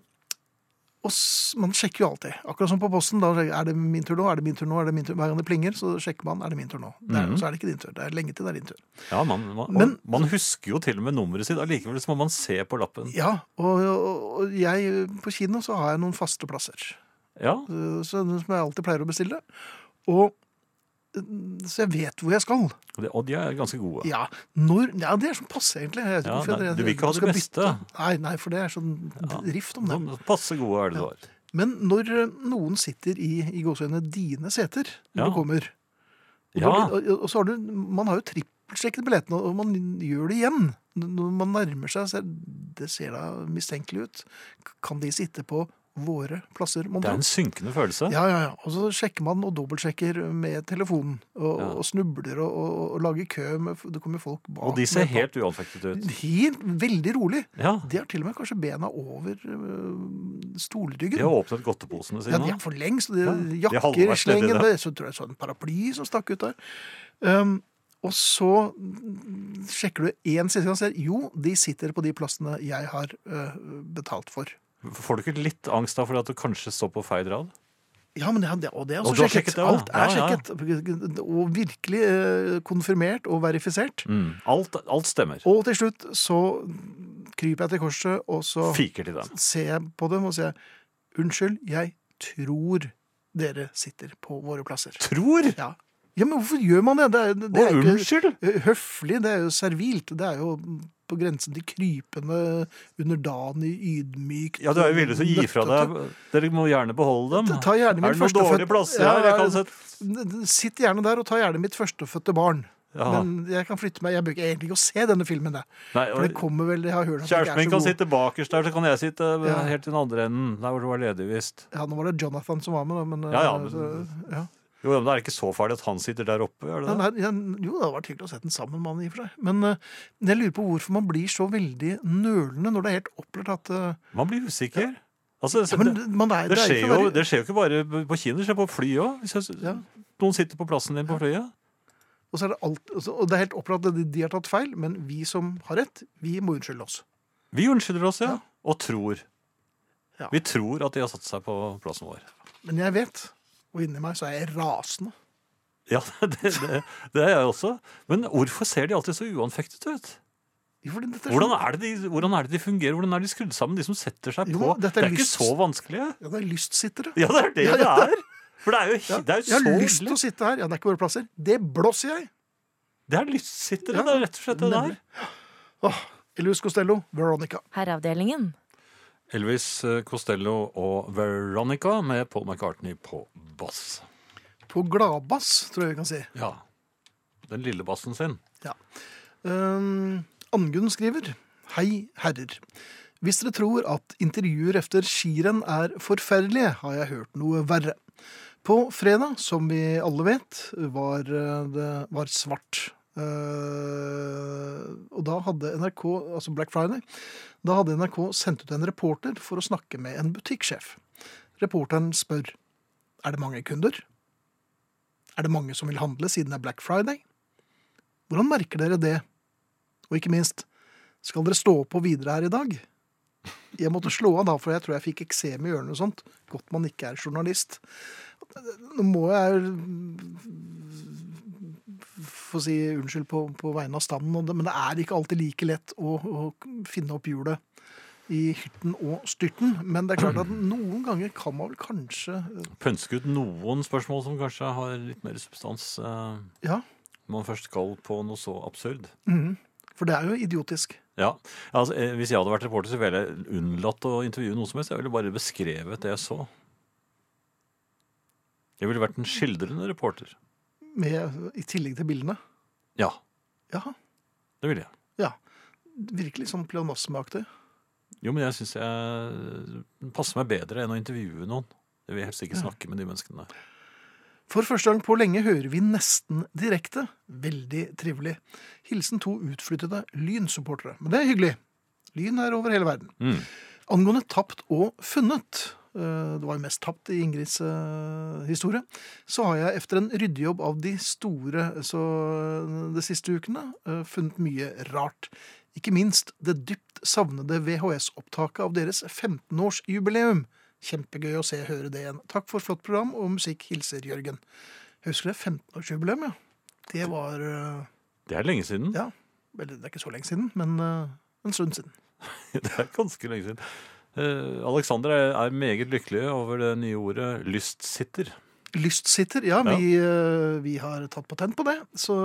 S2: og s- man sjekker jo alltid. Akkurat som på posten. Da er det min tur nå, er det min tur nå, er det min tur Hver gang det plinger, så sjekker man er det min tur nå. Det er,
S3: Mhm.
S2: Så er det ikke din tur. Det er lenge til det er din tur.
S3: Ja, man, man,
S2: Men-
S3: og man husker jo til og med nummeret sitt. Allikevel så må man se på lappen.
S2: Ja, og, og, og jeg på kino så har jeg noen faste plasser.
S3: Ja,
S2: eh, Så, som jeg alltid pleier å bestille. Og, eh, så jeg vet hvor jeg skal.
S3: og de- og de er ganske gode.
S2: Ja, når, ja det er sånn passe, egentlig. Jeg vet ikke
S3: Ja,
S2: hvorfor jeg-
S3: nei, du vil ikke
S2: jeg
S3: ha det
S2: skal
S3: beste.
S2: bytte. Nei, nei, for det er sånn
S3: Ja. Sånn,
S2: drift om det.
S3: Så Passe gode er det du har.
S2: Men når eh, noen sitter i, i gåsøgne dine seter når
S3: Ja.
S2: du kommer, og,
S3: Ja.
S2: da- og, og så har du, man har jo trippelsjekket billettene, og man gjør det igjen. Når man nærmer seg, ser, det ser da mistenkelig ut. Kan de sitte på våre plasser? mon
S3: Det
S2: tro?
S3: er en synkende følelse.
S2: Ja, ja, ja. Og så sjekker man og dobbeltsjekker med telefonen. Og,
S3: Ja.
S2: og snubler og, og, og lager kø. Med, det kommer folk bak.
S3: Og de ser
S2: med-
S3: helt uanfektet ut.
S2: Helt, veldig rolig.
S3: Ja,
S2: De har til og med kanskje bena over øh,
S3: De
S2: stolryggen.
S3: har åpnet godteposene
S2: Ja, de
S3: sine.
S2: er for lengst. og De,
S3: Ja, de har
S2: jakker i
S3: halvveis nedi
S2: slengen.
S3: det.
S2: Det. Så tror jeg det var en paraply som stakk ut der. Um, og så mm, sjekker du én siste gang og ser jo, de sitter på de plassene jeg har øh, betalt for.
S3: Får du ikke litt angst da for at du kanskje står på feil rad?
S2: Ja, men det, det, og det er også
S3: Og du har
S2: sjekket.
S3: sjekket det
S2: Alt
S3: også?
S2: er
S3: Ja, ja.
S2: sjekket. Og virkelig eh, konfirmert og verifisert.
S3: Mm. Alt, alt stemmer.
S2: Og til slutt så kryper jeg til korset, og så
S3: Fiker til dem.
S2: ser jeg på dem og sier Unnskyld, jeg tror dere sitter på våre plasser.
S3: Tror!
S2: Ja, ja men hvorfor gjør man det? Det er, det
S3: Og
S2: er jo ikke
S3: unnskyld!
S2: høflig, det er jo servilt. Det er jo på grensen til krypende, underdanig, ydmykt
S3: Ja, du er jo villig til å gi fra deg. Dere må gjerne beholde dem.
S2: Ta gjerne min
S3: er det noen
S2: førstefødte-
S3: dårlige plasser
S2: Ja,
S3: her? Jeg kan
S2: ja.
S3: sette...
S2: Sitt gjerne der og ta gjerne mitt førstefødte barn.
S3: Ja.
S2: Men jeg kan flytte meg. Jeg bruker egentlig ikke å se denne filmen. Jeg.
S3: Nei,
S2: For det kommer vel, jeg har hørt at det ikke
S3: Kjæresten min
S2: er så
S3: kan
S2: god.
S3: sitte bakerst der, så kan jeg sitte
S2: Ja.
S3: helt i den andre enden. Der hvor du var ledig, visst.
S2: Ja, nå var det Jonathan som var med, da, men,
S3: Ja, ja,
S2: eh,
S3: men-
S2: så- ja.
S3: Jo, men det er ikke så farlig at han sitter der oppe, er det det?
S2: Nei, nei, Jo, det hadde vært hyggelig å se den sammen med han i og for seg. Men eh, jeg lurer på hvorfor man blir så veldig nølende når det er helt opplagt at eh,
S3: Man blir usikker. Altså,
S2: ja,
S3: det,
S2: men,
S3: det,
S2: man er, er
S3: skjer
S2: ikke
S3: jo,
S2: bare-
S3: det skjer jo ikke bare på kino, det skjer på fly òg. Hvis jeg,
S2: Ja.
S3: noen sitter på plassen din på flyet.
S2: Og, så er det alt, og så- og det er helt opplagt at de, de har tatt feil, men vi som har rett, vi må unnskylde oss.
S3: Vi unnskylder oss, ja.
S2: Ja.
S3: Og tror.
S2: Ja.
S3: Vi tror at de har satt seg på plassen vår.
S2: Men jeg vet, og inni meg så er jeg rasende.
S3: Ja, [laughs] det, det, det er jeg også. Men hvorfor ser de alltid så uanfektet ut?
S2: Jo, fordi dette er
S3: Hvordan
S2: sånn-
S3: er det de, hvordan er det de fungerer? Hvordan er de skrudd sammen, de som setter seg
S2: Jo,
S3: på?
S2: dette
S3: Det
S2: er
S3: er ikke
S2: lyst-
S3: så vanskelige.
S2: Ja, det er lystsittere.
S3: Ja, det er det
S2: Ja,
S3: det
S2: ja.
S3: er. For det er jo,
S2: Ja,
S3: det er
S2: jeg
S3: jo
S2: har lyst
S3: så
S2: til å
S3: ille.
S2: sitte her. Ja, det er ikke våre plasser. Det blåser jeg!
S3: Det er lystsittere,
S2: Ja,
S3: det er rett og slett det der.
S2: nemlig. Åh, Elvis Costello, Veronica.
S4: Herreavdelingen.
S3: Elvis eh, Costello og Veronica med Paul McCartney på bass.
S2: På gladbass, tror jeg vi kan si.
S3: Ja. Den lille bassen sin.
S2: Ja. Ehm, Angunn skriver Hei, herrer. Hvis dere tror at intervjuer efter skirenn er forferdelige, har jeg hørt noe verre. På fredag, som vi alle vet, var eh, det var svart. Eh, Eh, og da hadde NRK, altså Black Friday, da hadde NRK sendt ut en reporter for å snakke med en butikksjef. Reporteren spør er det mange kunder. Er det mange som vil handle siden det er Black Friday? Hvordan merker dere det? Og ikke minst, skal dere stå på videre her i dag? Jeg måtte slå av da, for jeg tror jeg fikk eksem i ørene og sånt. Godt man ikke er journalist. Nå må jeg få si unnskyld på, på vegne av standen, og det- men det er ikke alltid like lett å, å finne opp hjulet i hyrten og styrten. Men det er klart at noen ganger kan man vel kanskje
S3: Pønske ut noen spørsmål som kanskje har litt mer substans. eh, Når
S2: Ja.
S3: man først skal på noe så absurd.
S2: mhm. For det er jo idiotisk.
S3: Ja, altså eh, Hvis jeg hadde vært reporter, så ville jeg unnlatt å intervjue noe som helst. Jeg ville bare beskrevet det jeg så. Jeg ville vært en skildrende reporter.
S2: Med, I tillegg til bildene.
S3: Ja,
S2: Ja,
S3: det ville jeg.
S2: ja. Virkelig sånn pleonasmeaktig.
S3: Jo, men jeg syns jeg passer meg bedre enn å intervjue noen. Jeg vil helst ikke snakke med de menneskene.
S2: For første gang på lenge hører vi nesten direkte. Veldig trivelig. Hilsen to utflyttede Lyn-supportere. Men det er hyggelig. Lyn er over hele verden.
S3: Mm.
S2: Angående tapt og funnet, eh, det var jo mest tapt i Ingrids eh, historie, så har jeg efter en ryddejobb av de store så, eh, de siste ukene eh, funnet mye rart. Ikke minst det dypt savnede VHS-opptaket av deres 15-årsjubileum. Kjempegøy å se høre det igjen. Takk for flott program og musikk. Hilser Jørgen. Jeg husker det 15-årsjubileum, ja. Det var eh,
S3: Det er lenge siden. [laughs]
S2: Ja, vel, det er ikke så lenge siden, men eh, en stund siden.
S3: Det er ganske lenge siden. Eh, Alexander er, er meget lykkelig over det nye ordet 'lystsitter'.
S2: Lystsitter, ja. Vi, eh, vi har tatt patent på det. Så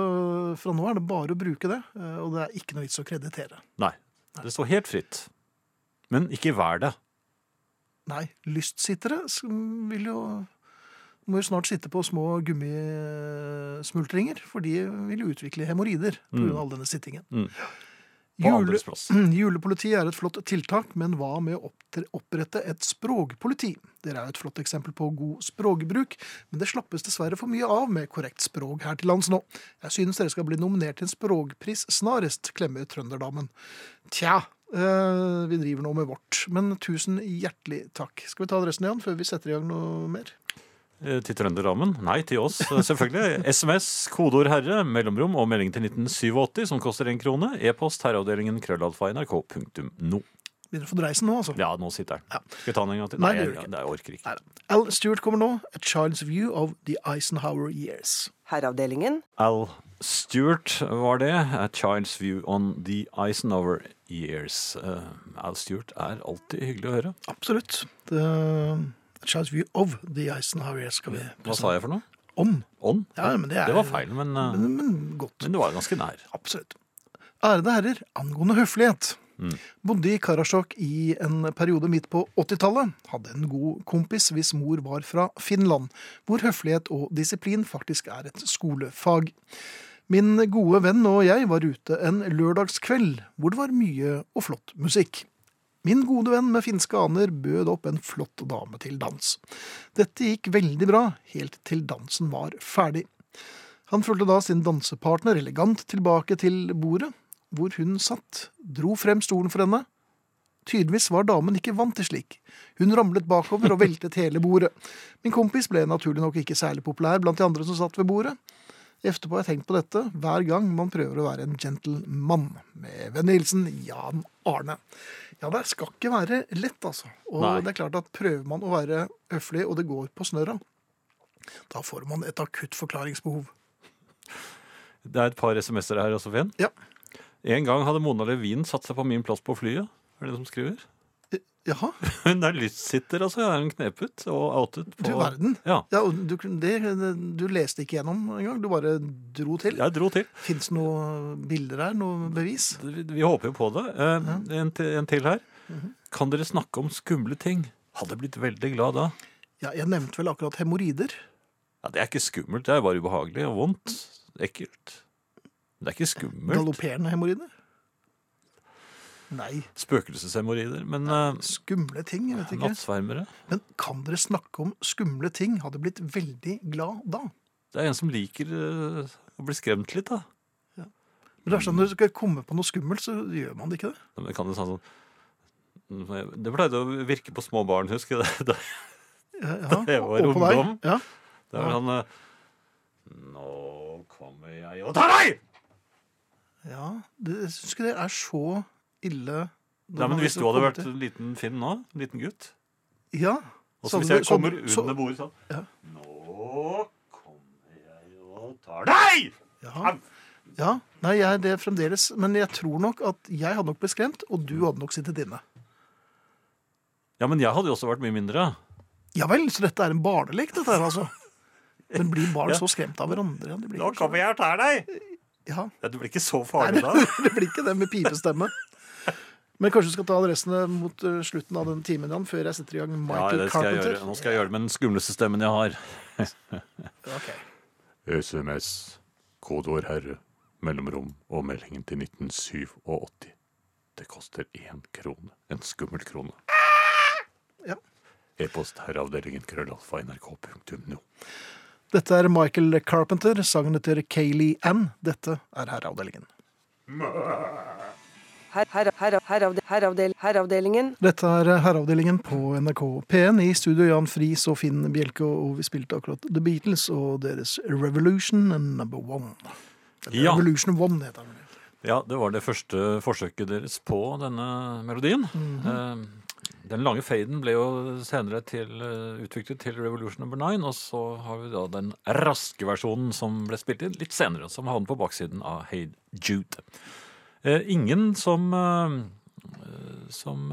S2: fra nå er det bare å bruke det. eh, Og det er ikke noe vits å kreditere.
S3: Nei, det står helt fritt. Men ikke vær det.
S2: Nei, lystsittere s- vil jo må jo snart sitte på små gummismultringer, for de vil jo utvikle hemoroider pga.
S3: Mm.
S2: all denne sittingen.
S3: Mm. På
S2: Jule,
S3: andres plass.
S2: [clears throat] julepoliti er et flott tiltak, men hva med å opptre- opprette et språkpoliti? Dere er jo et flott eksempel på god språkbruk, men det slappes dessverre for mye av med korrekt språk her til lands nå. Jeg synes dere skal bli nominert til en språkpris snarest, klemmer trønderdamen. Tja, eh, vi driver nå med vårt, men tusen hjertelig takk. Skal vi ta adressen igjen før vi setter i gang noe mer?
S3: Eh, Til Trønderdamen? Nei, til oss, eh,
S2: [laughs]
S3: selvfølgelig. SMS, kodeord 'herre', mellomrom og melding til 1987 som koster én krone. E-post herreavdelingen krøllalfa nrk.no.
S2: Begynner å få dreisen nå, altså.
S3: Ja, nå sitter den.
S2: Ja.
S3: Skal vi ta den en gang til?
S2: Nei, det
S3: jeg,
S2: gjør vi ikke.
S3: jeg orker ikke.
S2: Neida. Al Stewart kommer nå, A Child's View of the Eisenhower Years.
S5: Herreavdelingen.
S3: Al Stewart var det. A Child's View on the Eisenhower Years. Eh, Al Stewart er alltid hyggelig å høre.
S2: Absolutt. The, a Child's View of the Eisenhower Years skal vi
S3: Hva sa jeg for noe?
S2: om.
S3: Ånd?
S2: Ja, men det er
S3: Det var feil, men, eh,
S2: Men, men godt.
S3: men det var ganske nær.
S2: Absolutt. Ærede herrer, angående høflighet. Bodde i Karasjok i en periode midt på 80-tallet. Hadde en god kompis hvis mor var fra Finland, hvor høflighet og disiplin faktisk er et skolefag. Min gode venn og jeg var ute en lørdagskveld hvor det var mye og flott musikk. Min gode venn med finske aner bød opp en flott dame til dans. Dette gikk veldig bra, helt til dansen var ferdig. Han fulgte da sin dansepartner elegant tilbake til bordet, hvor hun satt, dro frem stolen for henne. Tydeligvis var damen ikke vant til slik. Hun ramlet bakover og veltet hele bordet. Min kompis ble naturlig nok ikke særlig populær blant de andre som satt ved bordet. Etterpå har jeg tenkt på dette hver gang man prøver å være en gentleman. Med vennlig hilsen Jan Arne. Ja, det skal ikke være lett, altså. Og
S3: Nei.
S2: det er klart at prøver man å være høflig, og det går på snørra, da får man et akutt forklaringsbehov.
S3: Det er et par SMS-er her også, Fen.
S2: Ja.
S3: En gang hadde Mona Levin satt seg på min plass på flyet. Er det den som skriver?
S2: Jaha,
S3: Hun er lystsitter, altså. Er hun knepet og outet på
S2: du verden.
S3: Ja.
S2: Ja, og du, det, du leste ikke gjennom engang, du bare dro til.
S3: Jeg dro til.
S2: Fins det noen bilder her, noe bevis?
S3: Vi vi håper jo på det. Eh, En til, en til her. Kan dere snakke om skumle ting? Hadde blitt veldig glad da.
S2: Ja, jeg nevnte vel akkurat hemoroider.
S3: Ja, Det er ikke skummelt. Det er bare ubehagelig og vondt. Ekkelt. Men Det er ikke skummelt.
S2: Galopperende hemoroider. Nei,
S3: Spøkelseshemoroider. Men eh,
S2: skumle ting, jeg vet ikke.
S3: nattsvermere
S2: Men kan dere snakke om skumle ting? Hadde blitt veldig glad da.
S3: Det er en som liker eh, å bli skremt litt, da.
S2: Ja. Men det er sånn, når du skal komme på noe skummelt, så gjør man det ikke det.
S3: Men kan det, sånn, sånn, det pleide å virke på små barn, husker jeg. det? [laughs]
S2: Ja, ja.
S3: Det var
S2: og på deg.
S3: ungdom.
S2: Ja.
S3: Det er sånn eh, Nå kommer jeg og tar deg!
S2: ja. Det, jeg syns ikke det er så ille. når
S3: Nei, men
S2: man
S3: Hvis
S2: liksom
S3: du hadde
S2: kommer
S3: vært
S2: til-
S3: en liten Finn nå, en liten gutt
S2: Ja.
S3: Og så
S2: Sånn
S3: hvis
S2: du-
S3: jeg
S2: sånn-
S3: kommer
S2: så-
S3: under bordet sånn
S2: Ja.
S3: Nå kommer jeg og tar deg!
S2: Ja. ja. Nei, jeg er det fremdeles. Men jeg tror nok at jeg hadde nok blitt skremt, og du hadde nok sittet inne.
S3: Ja, men jeg hadde jo også vært mye mindre.
S2: Ja vel, så dette er en barnelek, dette her, altså. Men blir barn
S3: [laughs] Ja.
S2: så skremt av hverandre? Ja, det blir
S3: Nå
S2: ikke så-
S3: kommer jeg og tar deg!
S2: Ja,
S3: Ja, du blir ikke så farlig da.
S2: [laughs] det blir ikke det med pipestemme. Men kanskje du skal ta adressene mot eh, slutten av den timen, Jan, før jeg setter i gang
S3: Ja,
S2: Michael
S3: det skal jeg
S2: Carpenter.
S3: gjøre. Nå skal jeg gjøre det med den skumleste stemmen jeg har.
S2: Ok.
S3: SMS, kodeord herre, mellomrom og meldingen til 1987. Det koster én krone. En skummel krone.
S2: Ja.
S3: E-post herreavdelingen krøllalfa nrk.no.
S2: Dette er Michael Carpenter. Sangen heter Kayleigh Ann. Dette er Herreavdelingen.
S5: Her, her, her, heravde, heravdel, heravdelingen.
S2: Dette er Herreavdelingen på NRK P1. I studio Jan Friis og Finn Bjelke, og vi spilte akkurat The Beatles og deres Revolution Number One. Eller
S3: Ja.
S2: Revolution One heter den.
S3: Ja, det var det første forsøket deres på denne melodien.
S2: Mhm.
S3: Eh, Den lange faden ble jo senere til, eh, utviklet til Revolution Number 9, og så har vi da den raske versjonen som ble spilt inn litt senere, som havnet på baksiden av Hey Jude. Eh, Ingen som, eh, eh, som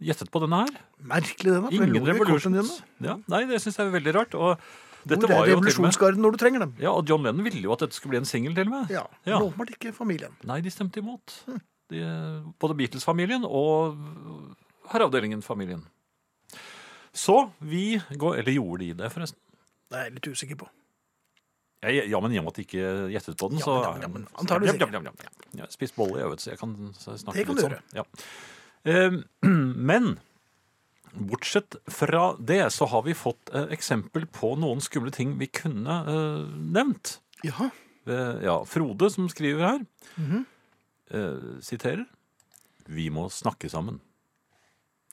S3: eh, gjettet på denne her.
S2: Merkelig det, da. for det
S3: Ingen
S2: lå i kortene
S3: Revolution.
S2: dine.
S3: Ja, nei, det syns jeg er veldig rart. Og dette
S2: Hvor
S3: var
S2: er
S3: jo til og med
S2: revolusjonsgarden når du trenger dem?
S3: ja, og John Lennon ville jo at dette skulle bli en singel, til og med.
S2: Ja,
S3: Ja.
S2: Åpenbart ikke familien.
S3: Nei, de stemte imot. De, både Beatles-familien og Herreavdelingen-familien. Så vi går Eller gjorde de det, forresten?
S2: Det er jeg litt usikker på.
S3: Ja, ja, men i og med at de ikke gjettet på den,
S2: Ja,
S3: så
S2: men, ja, men, antageligvis
S3: Ja, ja, ja, ja, ja. Jeg har spist bolle i øvelse, jeg kan snakke
S2: Det kan
S3: litt
S2: du
S3: sånn. Ja. Ehm, [clears throat] Men bortsett fra det, så har vi fått eh, eksempel på noen skumle ting vi kunne eh, nevnt.
S2: Jaha.
S3: Eh, ja, Frode som skriver her, eh, siterer Vi må snakke sammen.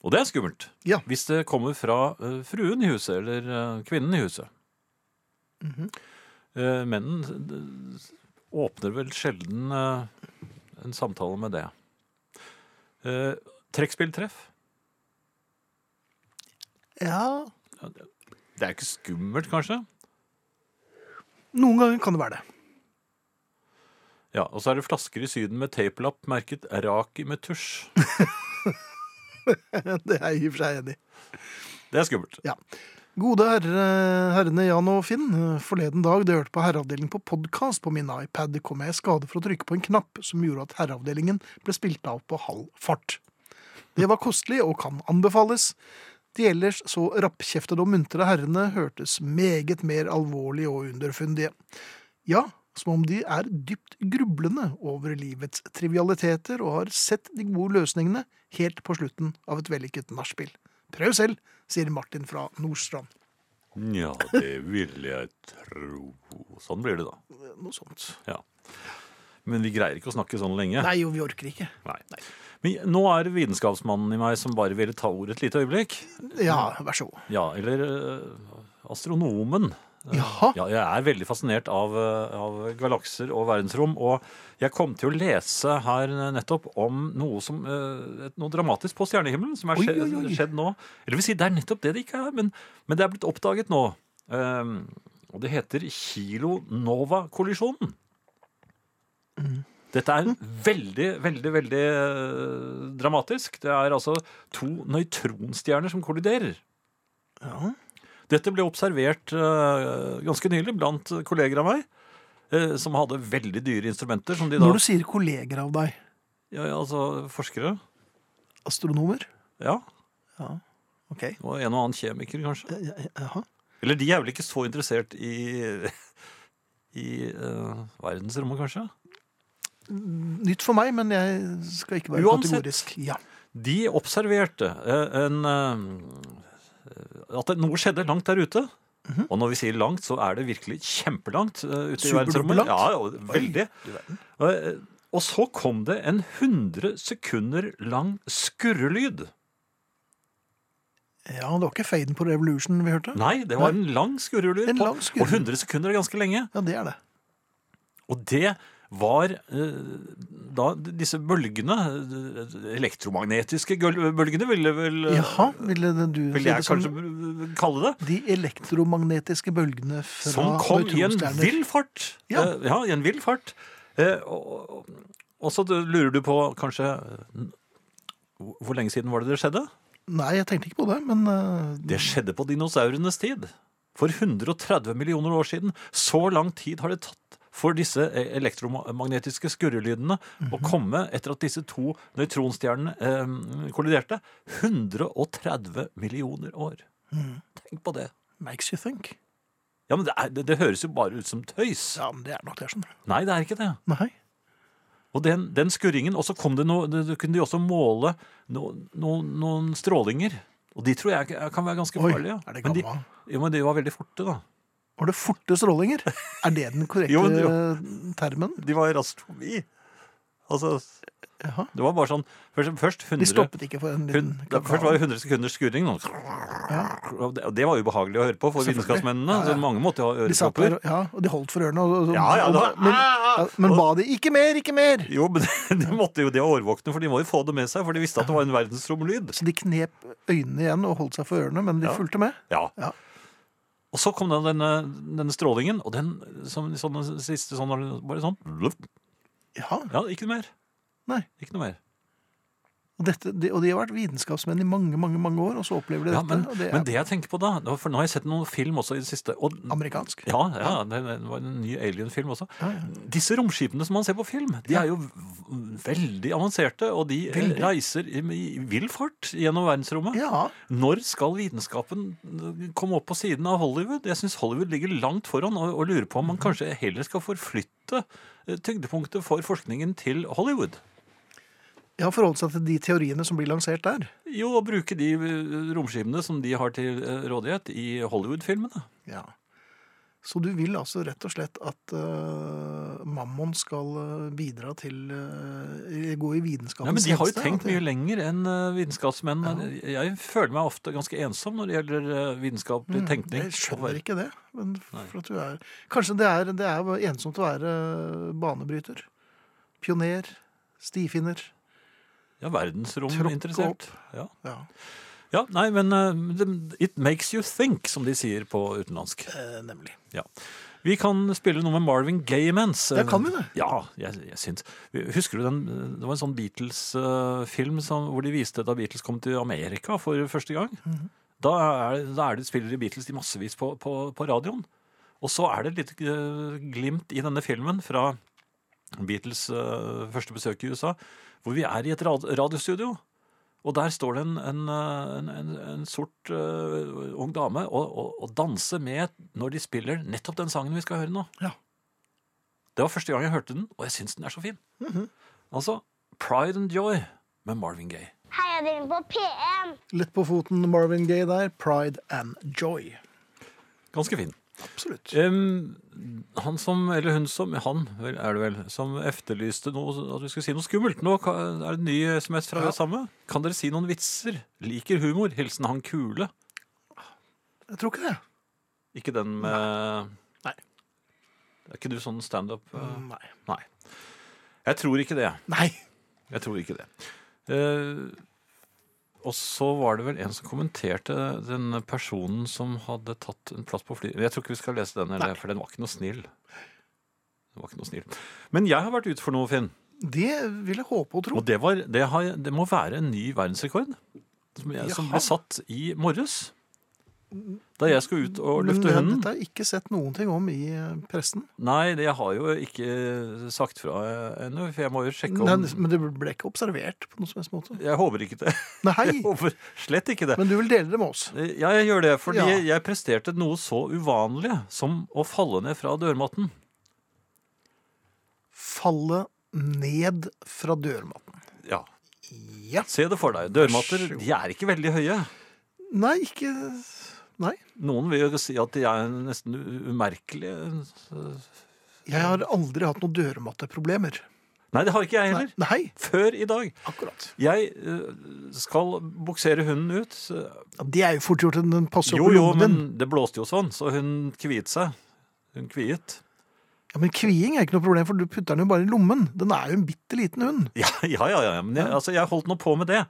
S3: Og det er skummelt.
S2: Ja.
S3: Hvis det kommer fra eh, fruen i huset, eller eh, kvinnen i huset. Eh, mennen eh, åpner vel sjelden eh, en samtale med det. Eh, trekkspilltreff.
S2: Ja.
S3: Det er ikke skummelt, kanskje?
S2: Noen ganger kan det være det.
S3: Ja, Og så er det flasker i Syden med teiplapp merket 'Raki med tusj'.
S2: Det [laughs] er jeg i og for seg enig i.
S3: Det er skummelt.
S2: Ja. Gode herre, herrene Jan og Finn. Forleden dag da jeg hørte på Herreavdelingen på podkast på min iPad, kom jeg i skade for å trykke på en knapp som gjorde at Herreavdelingen ble spilt av på halv fart. Det var kostelig og kan anbefales. De ellers så rappkjeftede og muntre herrene hørtes meget mer alvorlige og underfundige. Ja, som om de er dypt grublende over livets trivialiteter og har sett de gode løsningene helt på slutten av et vellykket nachspiel. Prøv selv, sier Martin fra Nordstrand.
S3: Ja, det ville jeg tro. Sånn blir det, da.
S2: Noe sånt.
S3: Ja. Men vi greier ikke å snakke sånn lenge.
S2: Nei, jo, vi orker ikke.
S3: Nei. Men nå er det vitenskapsmannen i meg som bare ville ta ordet et lite øyeblikk.
S2: Ja, vær så god.
S3: Ja, eller eh, astronomen.
S2: Jaha.
S3: Ja, jeg er veldig fascinert av, eh, av galakser og verdensrom, og jeg kom til å lese her nettopp om noe, som, eh, et- noe dramatisk på stjernehimmelen som er
S2: Oi,
S3: skje,
S2: oi, oi.
S3: skjedd nå. Eller vil si, det er nettopp det det ikke er, men, men det er blitt oppdaget nå. Eh, og det heter kilonova-kollisjonen.
S2: Mm.
S3: Dette er veldig, veldig, veldig eh, dramatisk. Det er altså to nøytronstjerner som kolliderer.
S2: Ja.
S3: Dette ble observert eh, ganske nylig blant kolleger av meg, eh, som hadde veldig dyre instrumenter, som de da
S2: Når du sier kolleger av deg,
S3: ja, ja, altså forskere.
S2: astronomer
S3: Ja,
S2: Ok.
S3: og en og annen kjemiker, kanskje.
S2: Ja, ja, Jaha.
S3: Eller de er vel ikke så interessert i [laughs] i eh, verdensrommet, kanskje?
S2: Nytt for meg, men jeg skal ikke være
S3: Uansett.
S2: kategorisk. Ja.
S3: De observerte eh, en eh, at det- noe skjedde langt der ute.
S2: Mhm.
S3: Og når vi sier langt, så er det virkelig kjempelangt eh, ute i verdensrommet.
S2: Superduperlangt.
S3: Ja, ja, veldig. Og, eh, Og så kom det en 100 sekunder lang skurrelyd.
S2: Ja, det var ikke faden på Revolution vi hørte.
S3: Nei, det var en lang skurrelyd.
S2: En
S3: på-
S2: lang skurrelyd.
S3: Og 100 sekunder er ganske lenge.
S2: Ja, det er det.
S3: Og det var eh, da disse bølgene, eh, elektromagnetiske gøl- bølgene, ville vel eh,
S2: Jaha, ville det du
S3: Vil
S2: si
S3: jeg
S2: det som
S3: kanskje kalle det.
S2: de elektromagnetiske bølgene fra
S3: Som kom i en
S2: nøytronstjerner?
S3: vill fart.
S2: Ja.
S3: Eh, ja, i en vill fart. Eh, og, og- og så lurer du på kanskje eh, Hvor hvor lenge siden var det det skjedde?
S2: Nei, jeg tenkte ikke på det, men eh,
S3: Det skjedde på dinosaurenes tid. For 130 millioner år siden. Så lang tid har det tatt for disse eh, elektromagnetiske skurrelydene
S2: Mhm.
S3: å komme etter at disse to nøytronstjernene eh, kolliderte. 130 millioner år.
S2: Mhm.
S3: Tenk på det.
S2: makes you think.
S3: Ja, men det, er, det, det høres jo bare ut som tøys.
S2: Ja, men det er nok det, skjønner du.
S3: Nei, det er ikke det.
S2: Nei.
S3: Og den, den skurringen, og så kom det noe, det, det kunne de også måle no, no, noen strålinger. Og de tror jeg kan være ganske
S2: Oi,
S3: farlige. ja.
S2: er det
S3: Men de-
S2: gamma?
S3: Jo, men de var veldig forte, da.
S2: Var det forte strålinger? Er det
S3: [laughs]
S2: den korrekte eh,
S3: Jo, men
S2: termen?
S3: De var i astronomi. Altså,
S2: Jaha.
S3: det var bare sånn Først, først 100
S2: De stoppet ikke for en liten
S3: hun- da, Først var
S2: kakao.
S3: det 100 sekunders skurring. nå. Og det, og det var ubehagelig å høre på for
S2: Selvfølgelig.
S3: vitenskapsmennene.
S2: Ja, ja.
S3: Så mange måtte ha
S2: De satt der,
S3: ørepropper.
S2: ja, og de holdt for ørene. Og, og,
S3: Ja, ja, Ah!
S2: og,
S3: det var-
S2: men, ja, men ba de 'ikke mer, ikke mer'?
S3: Jo, men [laughs] de måtte jo de årvåkne, for de må jo få det med seg. For de visste at det var en verdensromlyd.
S2: Så de knep øynene igjen og holdt seg for ørene, men de
S3: Ja.
S2: fulgte med.
S3: Ja.
S2: Ja.
S3: Og så kom da denne, denne strålingen, og den som sånn, den siste sånn Bare sånn blup.
S2: Ja,
S3: Ja, ikke noe mer.
S2: nei.
S3: Ikke noe mer.
S2: Og, dette, de, og de har vært vitenskapsmenn i mange, mange mange år, og så opplever de
S3: Ja,
S2: dette.
S3: men,
S2: og det er
S3: men det jeg tenker på da det var- For nå har jeg sett noen film også i det siste. Og,
S2: amerikansk.
S3: ja, ja, det det var en ny alien-film også.
S2: Ja, ja.
S3: Disse romskipene som man ser på film, de er jo v- veldig avanserte. Og de reiser i, i vill fart gjennom verdensrommet.
S2: Ja,
S3: Når skal vitenskapen eh, komme opp på siden av Hollywood? Jeg syns Hollywood ligger langt foran og, og lurer på om man kanskje heller skal forflytte eh, tyngdepunktet for forskningen til Hollywood.
S2: jeg har forholdt seg til de teoriene som blir lansert der.
S3: Jo, og bruke de eh, romskipene som de har til eh, rådighet i Hollywood-filmene.
S2: Ja. Så du vil altså rett og slett at eh, Mammon skal eh, bidra til eh, gå i
S3: Ja,
S2: vitenskapens
S3: men de har jo
S2: tjeneste,
S3: tenkt
S2: at det-
S3: mye lenger enn eh, vitenskapsmenn. Jeg føler meg ofte ganske ensom når det gjelder eh, vitenskapelig tenkning.
S2: Mm, Jeg skjønner ikke det. Men for at du er, kanskje det er, det er jo ensomt å være eh, banebryter. Pioner. Stifinner.
S3: Ja,
S2: Tråkke
S3: verdensrominteressert. Ja.
S2: Ja.
S3: ja, nei, men eh, it makes you think, som de sier på utenlandsk.
S2: Eh, nemlig.
S3: Ja. Vi kan spille noe med Marvin Gaye imens.
S2: Det kan vi det.
S3: Ja, jeg, jeg syns. Husker du den Det var en sånn Beatles-film som, hvor de viste da Beatles kom til Amerika for første gang.
S2: Mhm.
S3: Da er, da er det spiller de Beatles i massevis på, på, på radioen. Og så er det et lite eh, glimt i denne filmen fra Beatles eh, første besøk i USA, hvor vi er i et rad, radiostudio. Og der står det en, en, eh, en, en, en sort eh, ung dame og, og, og danser med når de spiller nettopp den sangen vi skal høre nå.
S2: Ja.
S3: Det var første gang jeg hørte den, og jeg syns den er så fin.
S2: Mhm.
S3: Altså Pride and Joy med Marvin Gaye.
S6: Heiavdelingen på PM.
S2: Lett på foten Marvin Gaye der. Pride and joy.
S3: Ganske fin.
S2: Absolutt.
S3: Em, han som, eller hun som, han vel, er det vel, som efterlyste noe, at vi skulle si noe skummelt. Nå ka- er det en ny SMS fra
S2: Ja.
S3: det samme. Kan dere si noen vitser? Liker humor. Hilsen han kule.
S2: Jeg tror ikke det.
S3: Ikke den med
S2: Nei. Mm.
S3: Er ikke du sånn standup? eh?
S2: Nei.
S3: Nei. Jeg tror ikke det.
S2: Nei.
S3: Jeg tror ikke det. Eh, og så var det vel en som kommenterte den personen som hadde tatt en plass på flyet. Jeg tror ikke vi skal lese den, eller, for den var ikke noe snill. Den var ikke noe snill. Men jeg har vært ute for noe, Finn.
S2: Det vil jeg håpe og tro.
S3: Og det, var, det, har, det må være en ny verdensrekord. Som, jeg, som
S2: Jaha.
S3: ble satt i morges. Da jeg skulle ut og
S2: Men
S3: lufte
S2: det-
S3: hunden.
S2: dette har jeg ikke sett noen ting om i eh, pressen.
S3: Nei, det har jeg jo ikke eh, sagt fra ennå, for jeg må jo sjekke
S2: Nei,
S3: om
S2: men det ble ikke observert på noen som helst måte.
S3: Jeg håper ikke det. Jeg [laughs]
S2: Nei,
S3: håper slett ikke det. Eh,
S2: men du vil dele det med oss.
S3: Ja, jeg gjør det, fordi
S2: Ja.
S3: jeg presterte noe så uvanlig som å falle ned fra dørmatten.
S2: Falle ned fra dørmatten.
S3: Ja,
S2: Ja.
S3: Se det for deg. Dørmatter de er ikke veldig høye.
S2: Nei, ikke Nei.
S3: Noen vil jo si at de er nesten u- umerkelige.
S2: Jeg har aldri hatt noen dørmatteproblemer.
S3: Nei, det har ikke jeg heller.
S2: Nei,
S3: Før i dag.
S2: akkurat.
S3: Jeg eh, skal buksere hunden ut. så-
S2: Ja, det er jo fort gjort. Den den passer
S3: Jo,
S2: opp i
S3: jo,
S2: lommen din.
S3: men det blåste jo sånn, så hun kviet seg. Hun kviet.
S2: Ja, men kviing er ikke noe problem, for du putter den jo bare i lommen. Den er jo en bitte liten
S3: [laughs]
S2: hund.
S3: Ja, ja, ja. ja. Men jeg, altså, jeg holdt nå på med det.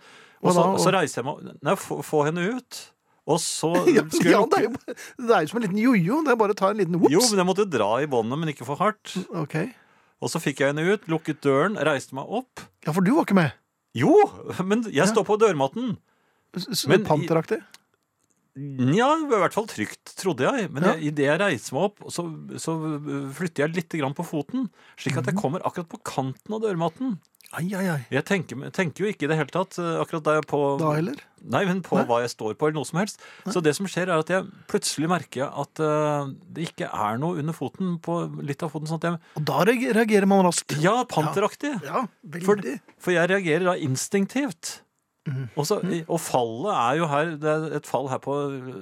S2: Hva
S3: Og så,
S2: da?
S3: og så reiser jeg meg og- Nei, få, få henne ut. Og så
S2: [laughs] Ja,
S3: skulle jeg
S2: ja, det, er jo,
S3: lukke-
S2: bare- det er jo som en liten jojo. Det er bare å ta en liten
S3: Jo,
S2: whoops.
S3: men jeg måtte dra i båndet, men ikke for hardt.
S2: Ok.
S3: Og så fikk jeg henne ut, lukket døren, reiste meg opp.
S2: Ja, for du var ikke med.
S3: Jo, [laughs] men jeg står på dørmatten.
S2: S- s-
S3: Men i-
S2: Panteraktig.
S3: Nja, det var i hvert fall trygt, trodde jeg. Men
S2: Ja.
S3: jeg, idet jeg reiser meg opp, så, så øh, flytter jeg litt grann på foten. Slik
S2: Mhm.
S3: at jeg kommer akkurat på kanten av dørmatten.
S2: Ai, ai, ai.
S3: Jeg tenker, tenker jo ikke i det hele tatt eh, akkurat da jeg på
S2: Da heller.
S3: Nei, men på
S2: Nei.
S3: hva jeg står på, eller noe som helst. Så det som skjer, er at jeg plutselig merker at eh, det ikke er noe under foten, på litt av foten. Sånn at jeg
S2: Og da reag- reagerer man raskt.
S3: Ja, panteraktig!
S2: Ja,
S3: For,
S2: veldig.
S3: for jeg reagerer da instinktivt.
S2: Mm.
S3: Og, så, og fallet er jo her Det er et fall her på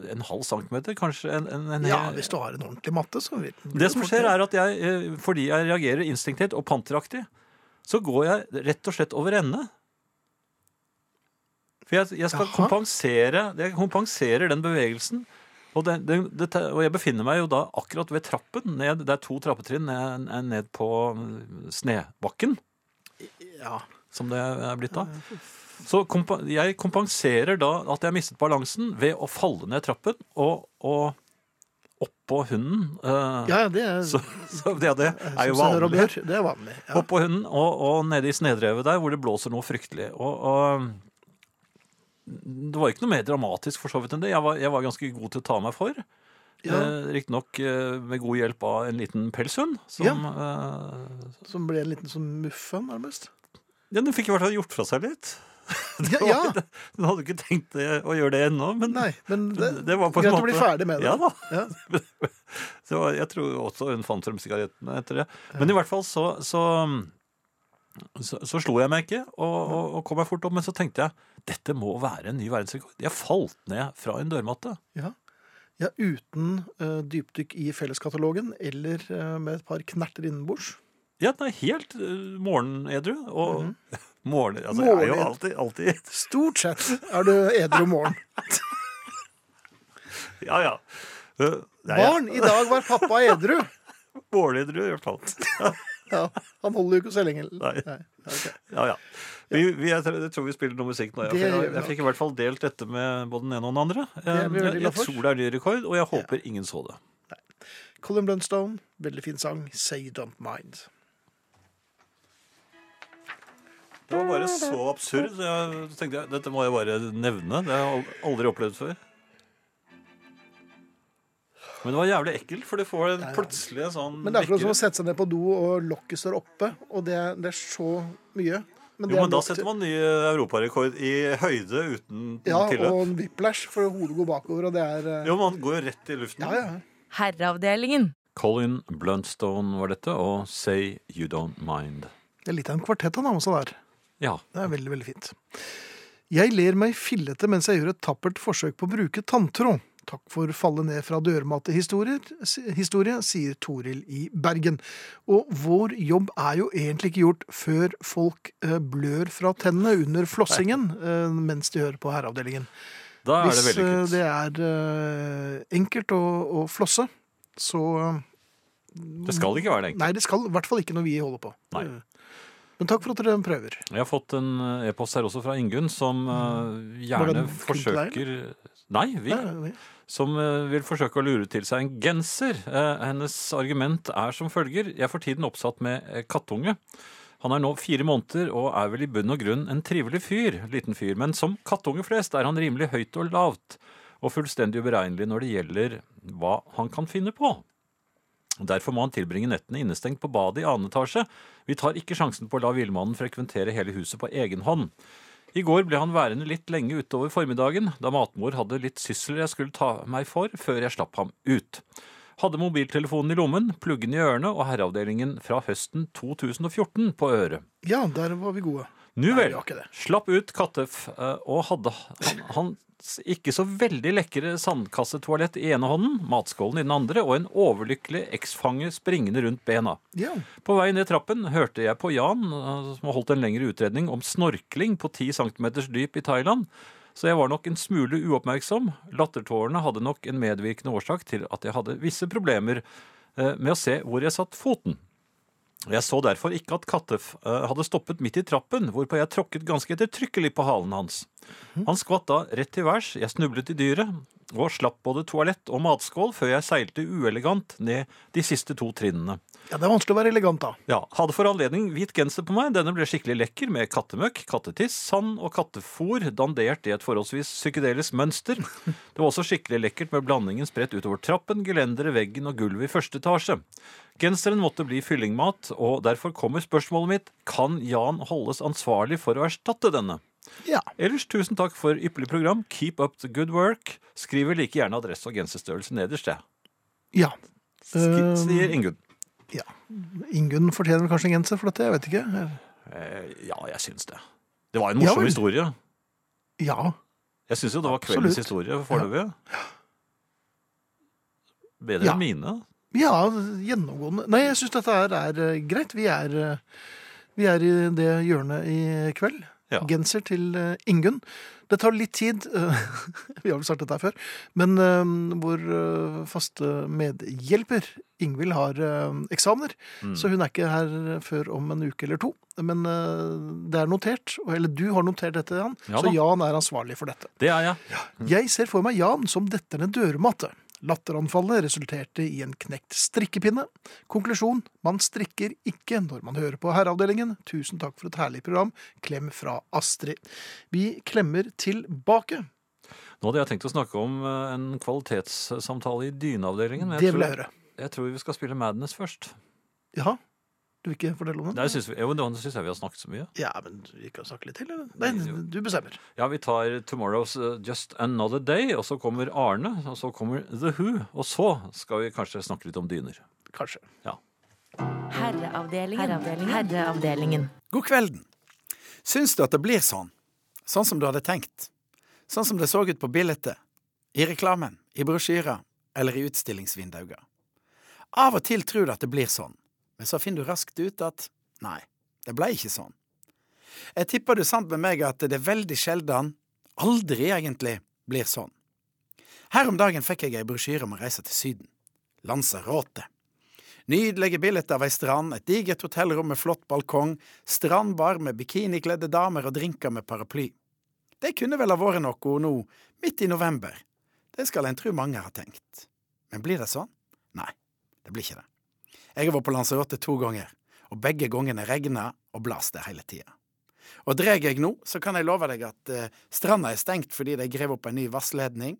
S3: en halv centimeter, kanskje. En, en, en,
S2: Ja, hvis du har en ordentlig matte, så vil
S3: Det som skjer, er at jeg, eh, fordi jeg reagerer instinktivt og panteraktig, så går jeg rett og slett over ende. For jeg, jeg skal
S2: Jaha.
S3: kompensere Jeg kompenserer den bevegelsen. Og, den, den, det, te- og jeg befinner meg jo da akkurat ved trappen. Ned, det er to trappetrinn ned, ned på mm, snebakken,
S2: Ja.
S3: som det er blitt da. Så kompa, jeg kompenserer da at jeg har mistet balansen ved å falle ned trappen og, og oppå hunden. eh,
S2: Ja, ja, det er,
S3: så, så det, det er jo
S2: som seg hør og bør.
S3: vanlig.
S2: Det er vanlig. Ja.
S3: Oppå hunden og, og nede i snedrevet der, hvor det blåser noe fryktelig. Og, og det var ikke noe mer dramatisk for så vidt enn det. Jeg var, jeg var ganske god til å ta meg for.
S2: Ja.
S3: Eh, Riktignok eh, med god hjelp av en liten pelshund. Som, eh,
S2: Som ble en liten sånn muffe,
S3: [laughs]
S2: nærmest.
S3: ja, den fikk i hvert fall gjort fra seg litt.
S2: Ja, ja.
S3: [laughs] Den hadde ikke tenkt eh, å gjøre det ennå, men
S2: Nei, men det,
S3: [laughs] det var på en
S2: greit
S3: måte
S2: å bli ferdig med det.
S3: Ja da.
S2: Ja.
S3: Så jeg tror også hun fant frem sigarettene etter det. Men i hvert fall så så, så, så slo jeg meg ikke, og, og, og kom meg fort opp. Men så tenkte jeg dette må være en ny verdensrekord. Jeg falt ned fra en dørmatte.
S2: Ja. ja, uten eh, dypdykk i felleskatalogen eller eh, med et par knerter innenbords.
S3: Ja, den er helt uh, morgenedru. Og
S2: Mhm.
S3: [laughs] morgen, altså, jeg er jo
S2: Morgenedru.
S3: alltid, alltid [laughs]
S2: Stort sett er du edru om morgenen.
S3: Ja, ja. Uh, nei, jeg-
S2: Barn, i dag var pappa edru!
S3: Morgenedru, i hvert fall. [laughs]
S2: Ja, han holder jo ikke så lenge.
S3: Nei.
S2: ok.
S3: Ja, ja. Vi, vi, jeg tror- jeg tror vi spiller noe musikk nå. Jeg,
S2: Det
S3: for
S2: gjør
S3: jeg,
S2: vi
S3: jeg
S2: nok.
S3: fikk i hvert fall delt dette med både den ene og den andre. Eh,
S2: er vi veldig
S3: Jeg, jeg
S2: glad for.
S3: tror det er ny rekord, og jeg håper ingen så det.
S2: Colin Blunstone, veldig fin sang. Say You Don't Mind.
S3: Mm, Det var bare så absurd. så Jeg tenkte jeg, dette må jeg bare nevne. Det har jeg al- aldri opplevd før. Men det var jævlig ekkelt, for det får en plutselig en sånn
S2: Men det er akkurat som å
S3: vekker.
S2: sette seg ned på do, og lokket står oppe. Og det, det er så mye. Men
S3: Jo, men da
S2: nok til-
S3: setter man ny europarekord i høyde uten
S2: Ja,
S3: tilløp.
S2: og en whiplash, for hodet går bakover, og det er eh,
S3: Jo, man går jo rett i luften.
S2: Ja, ja.
S4: Herreavdelingen.
S3: Colin Bluntstone var dette, og Say You Don't Mind.
S2: Det er litt av en kvartett han har med seg der.
S3: Ja.
S2: Det er veldig, veldig fint. Jeg ler meg fillete mens jeg gjør et tappert forsøk på å bruke tanntråd. Takk for falle ned fra dørmattehistorie, historie, sier Toril i Bergen. Og vår jobb er jo egentlig ikke gjort før folk eh, blør fra tennene under flossingen eh, mens de hører på Herreavdelingen.
S3: Da er det
S2: Hvis
S3: veldig
S2: eh,
S3: kult.
S2: det er eh, enkelt å, å flosse, så eh,
S3: Det skal ikke være det enkelt.
S2: Nei, det skal i hvert fall ikke når vi holder på.
S3: Nei.
S2: Eh, Men takk for at dere prøver.
S3: Jeg har fått en eh, e-post her også fra Ingunn, som eh,
S2: Mm. Var
S3: gjerne
S2: den kun til deg,
S3: forsøker Nei, vi
S2: Nei,
S3: som eh, vil forsøke å lure til seg en genser. Eh, Hennes argument er som følger. Jeg er for tiden oppsatt med eh, kattunge. Han er nå fire måneder og er vel i bunn og grunn en trivelig fyr, liten fyr, men som kattunge flest er han rimelig høyt og lavt, og fullstendig uberegnelig når det gjelder hva han kan finne på. Derfor må han tilbringe nettene innestengt på badet i annen etasje. Vi tar ikke sjansen på å la villmannen frekventere hele huset på egen hånd. I går ble han værende litt lenge utover formiddagen, da matmor hadde litt sysler jeg skulle ta meg for før jeg slapp ham ut. Hadde mobiltelefonen i lommen, pluggen i ørene og herreavdelingen fra høsten 2014 på øret.
S2: Ja, der var vi gode.
S3: Nu
S2: Nei,
S3: vel.
S2: vi har ikke det.
S3: Slapp ut Kattef eh, og hadde han, hans ikke så veldig lekre sandkassetoalett i ene hånden, matskålen i den andre og en overlykkelig eksfange springende rundt bena.
S2: Ja.
S3: På vei ned trappen hørte jeg på Jan, eh, som har holdt en lengre utredning om snorkling på 10 cm dyp i Thailand. Så jeg var nok en smule uoppmerksom. Lattertårene hadde nok en medvirkende årsak til at jeg hadde visse problemer eh, med å se hvor jeg satt foten. Jeg så derfor ikke at Kattef eh, hadde stoppet midt i trappen, hvorpå jeg tråkket ganske ettertrykkelig på halen hans. Han skvatt da rett til værs, jeg snublet i dyret og slapp både toalett og matskål før jeg seilte uelegant ned de siste to trinnene.
S2: ja, det er vanskelig å være elegant da.
S3: Ja, hadde for anledning hvit genser på meg. Denne ble skikkelig lekker med kattemøkk, kattetiss, sand og kattefôr dandert i et forholdsvis psykedelisk mønster. Det var også skikkelig lekkert med blandingen spredt utover trappen, gelenderet, veggen og gulvet i første etasje. Genseren måtte bli fyllingmat, og derfor kommer spørsmålet mitt kan Jan holdes ansvarlig for å erstatte denne.
S2: Ja.
S3: Ellers tusen takk for ypperlig program. Keep up the good work. Skriver like gjerne adresse og genserstørrelse nederst, jeg.
S2: ja.
S3: Skri-
S2: Eh,
S3: Sier Ingunn.
S2: Ingunn fortjener kanskje en genser for dette, jeg vet ikke.
S3: Eh, ja, jeg syns det. Det var en
S2: Ja
S3: morsom
S2: vel.
S3: historie.
S2: Ja.
S3: Jeg syns jo det var kveldens
S2: Absolutt.
S3: historie foreløpig. Bedre
S2: Ja.
S3: enn mine.
S2: Ja, gjennomgående. Nei, jeg syns dette her er eh, greit. Vi er, eh, vi er i det hjørnet i kveld.
S3: Ja.
S2: Genser til eh, Ingunn. Det tar litt tid. [laughs] eh, vi har vel sagt dette her før. Men eh, vår eh, faste medhjelper Ingvild har eh, eksamener,
S3: Mm.
S2: så hun er ikke her før om en uke eller to. Men eh, det er notert, og- eller du har notert dette, Jan,
S3: Ja da.
S2: så Jan er ansvarlig for dette.
S3: Det er jeg.
S2: Jeg ser for meg Jan som detter ned dørmatte. Latteranfallet resulterte i en knekt strikkepinne. Konklusjon man strikker ikke når man hører på Herreavdelingen. Tusen takk for et herlig program. Klem fra Astrid. Vi klemmer tilbake.
S3: Nå hadde jeg tenkt å snakke om eh, en kvalitetssamtale i dyneavdelingen. Men
S2: Det
S3: jeg
S2: vil jeg
S3: tror,
S2: høre.
S3: jeg tror vi skal spille Madness først.
S2: Jaha? Du vil ikke fortelle om den?
S3: Nei, synes vi, jo, men det syns jeg vi har snakket så mye.
S2: Ja, men vi kan snakke litt til, eller? Nei, du bestemmer.
S3: Ja, vi tar Tomorrow's eh, Just Another Day, og så kommer Arne, og så kommer The Who, og så skal vi kanskje snakke litt om dyner.
S2: Kanskje.
S3: Ja.
S4: Herreavdelingen. Herreavdelingen. Herreavdelingen.
S7: God kvelden. Syns du at det blir sånn? Sånn som du hadde tenkt? Sånn som det så ut på bildet? I reklamen? I brosjyrer? Eller i utstillingsvinduer? Av og til tror du at det blir sånn, men så finner du raskt ut at nei, det ble ikke sånn. Jeg tipper du er sant med meg at det veldig sjelden, aldri egentlig, blir sånn. Her om dagen fikk jeg ei brosjyre om å reise til Syden. Lanzarote. Nydelige bilder av ei strand, et digert hotellrom med flott balkong, strandbar med bikinikledde damer og drinker med paraply. Det kunne vel ha vært noe nå, midt i november. Det skal en tro mange har tenkt. Men blir det sånn? Nei, det blir ikke det. Jeg har vært på Lanzarote to ganger, og begge gangene regna og blåste hele tida. Og dreg jeg nå, så kan jeg love deg at eh, stranda er stengt fordi de grev opp en ny vassledning.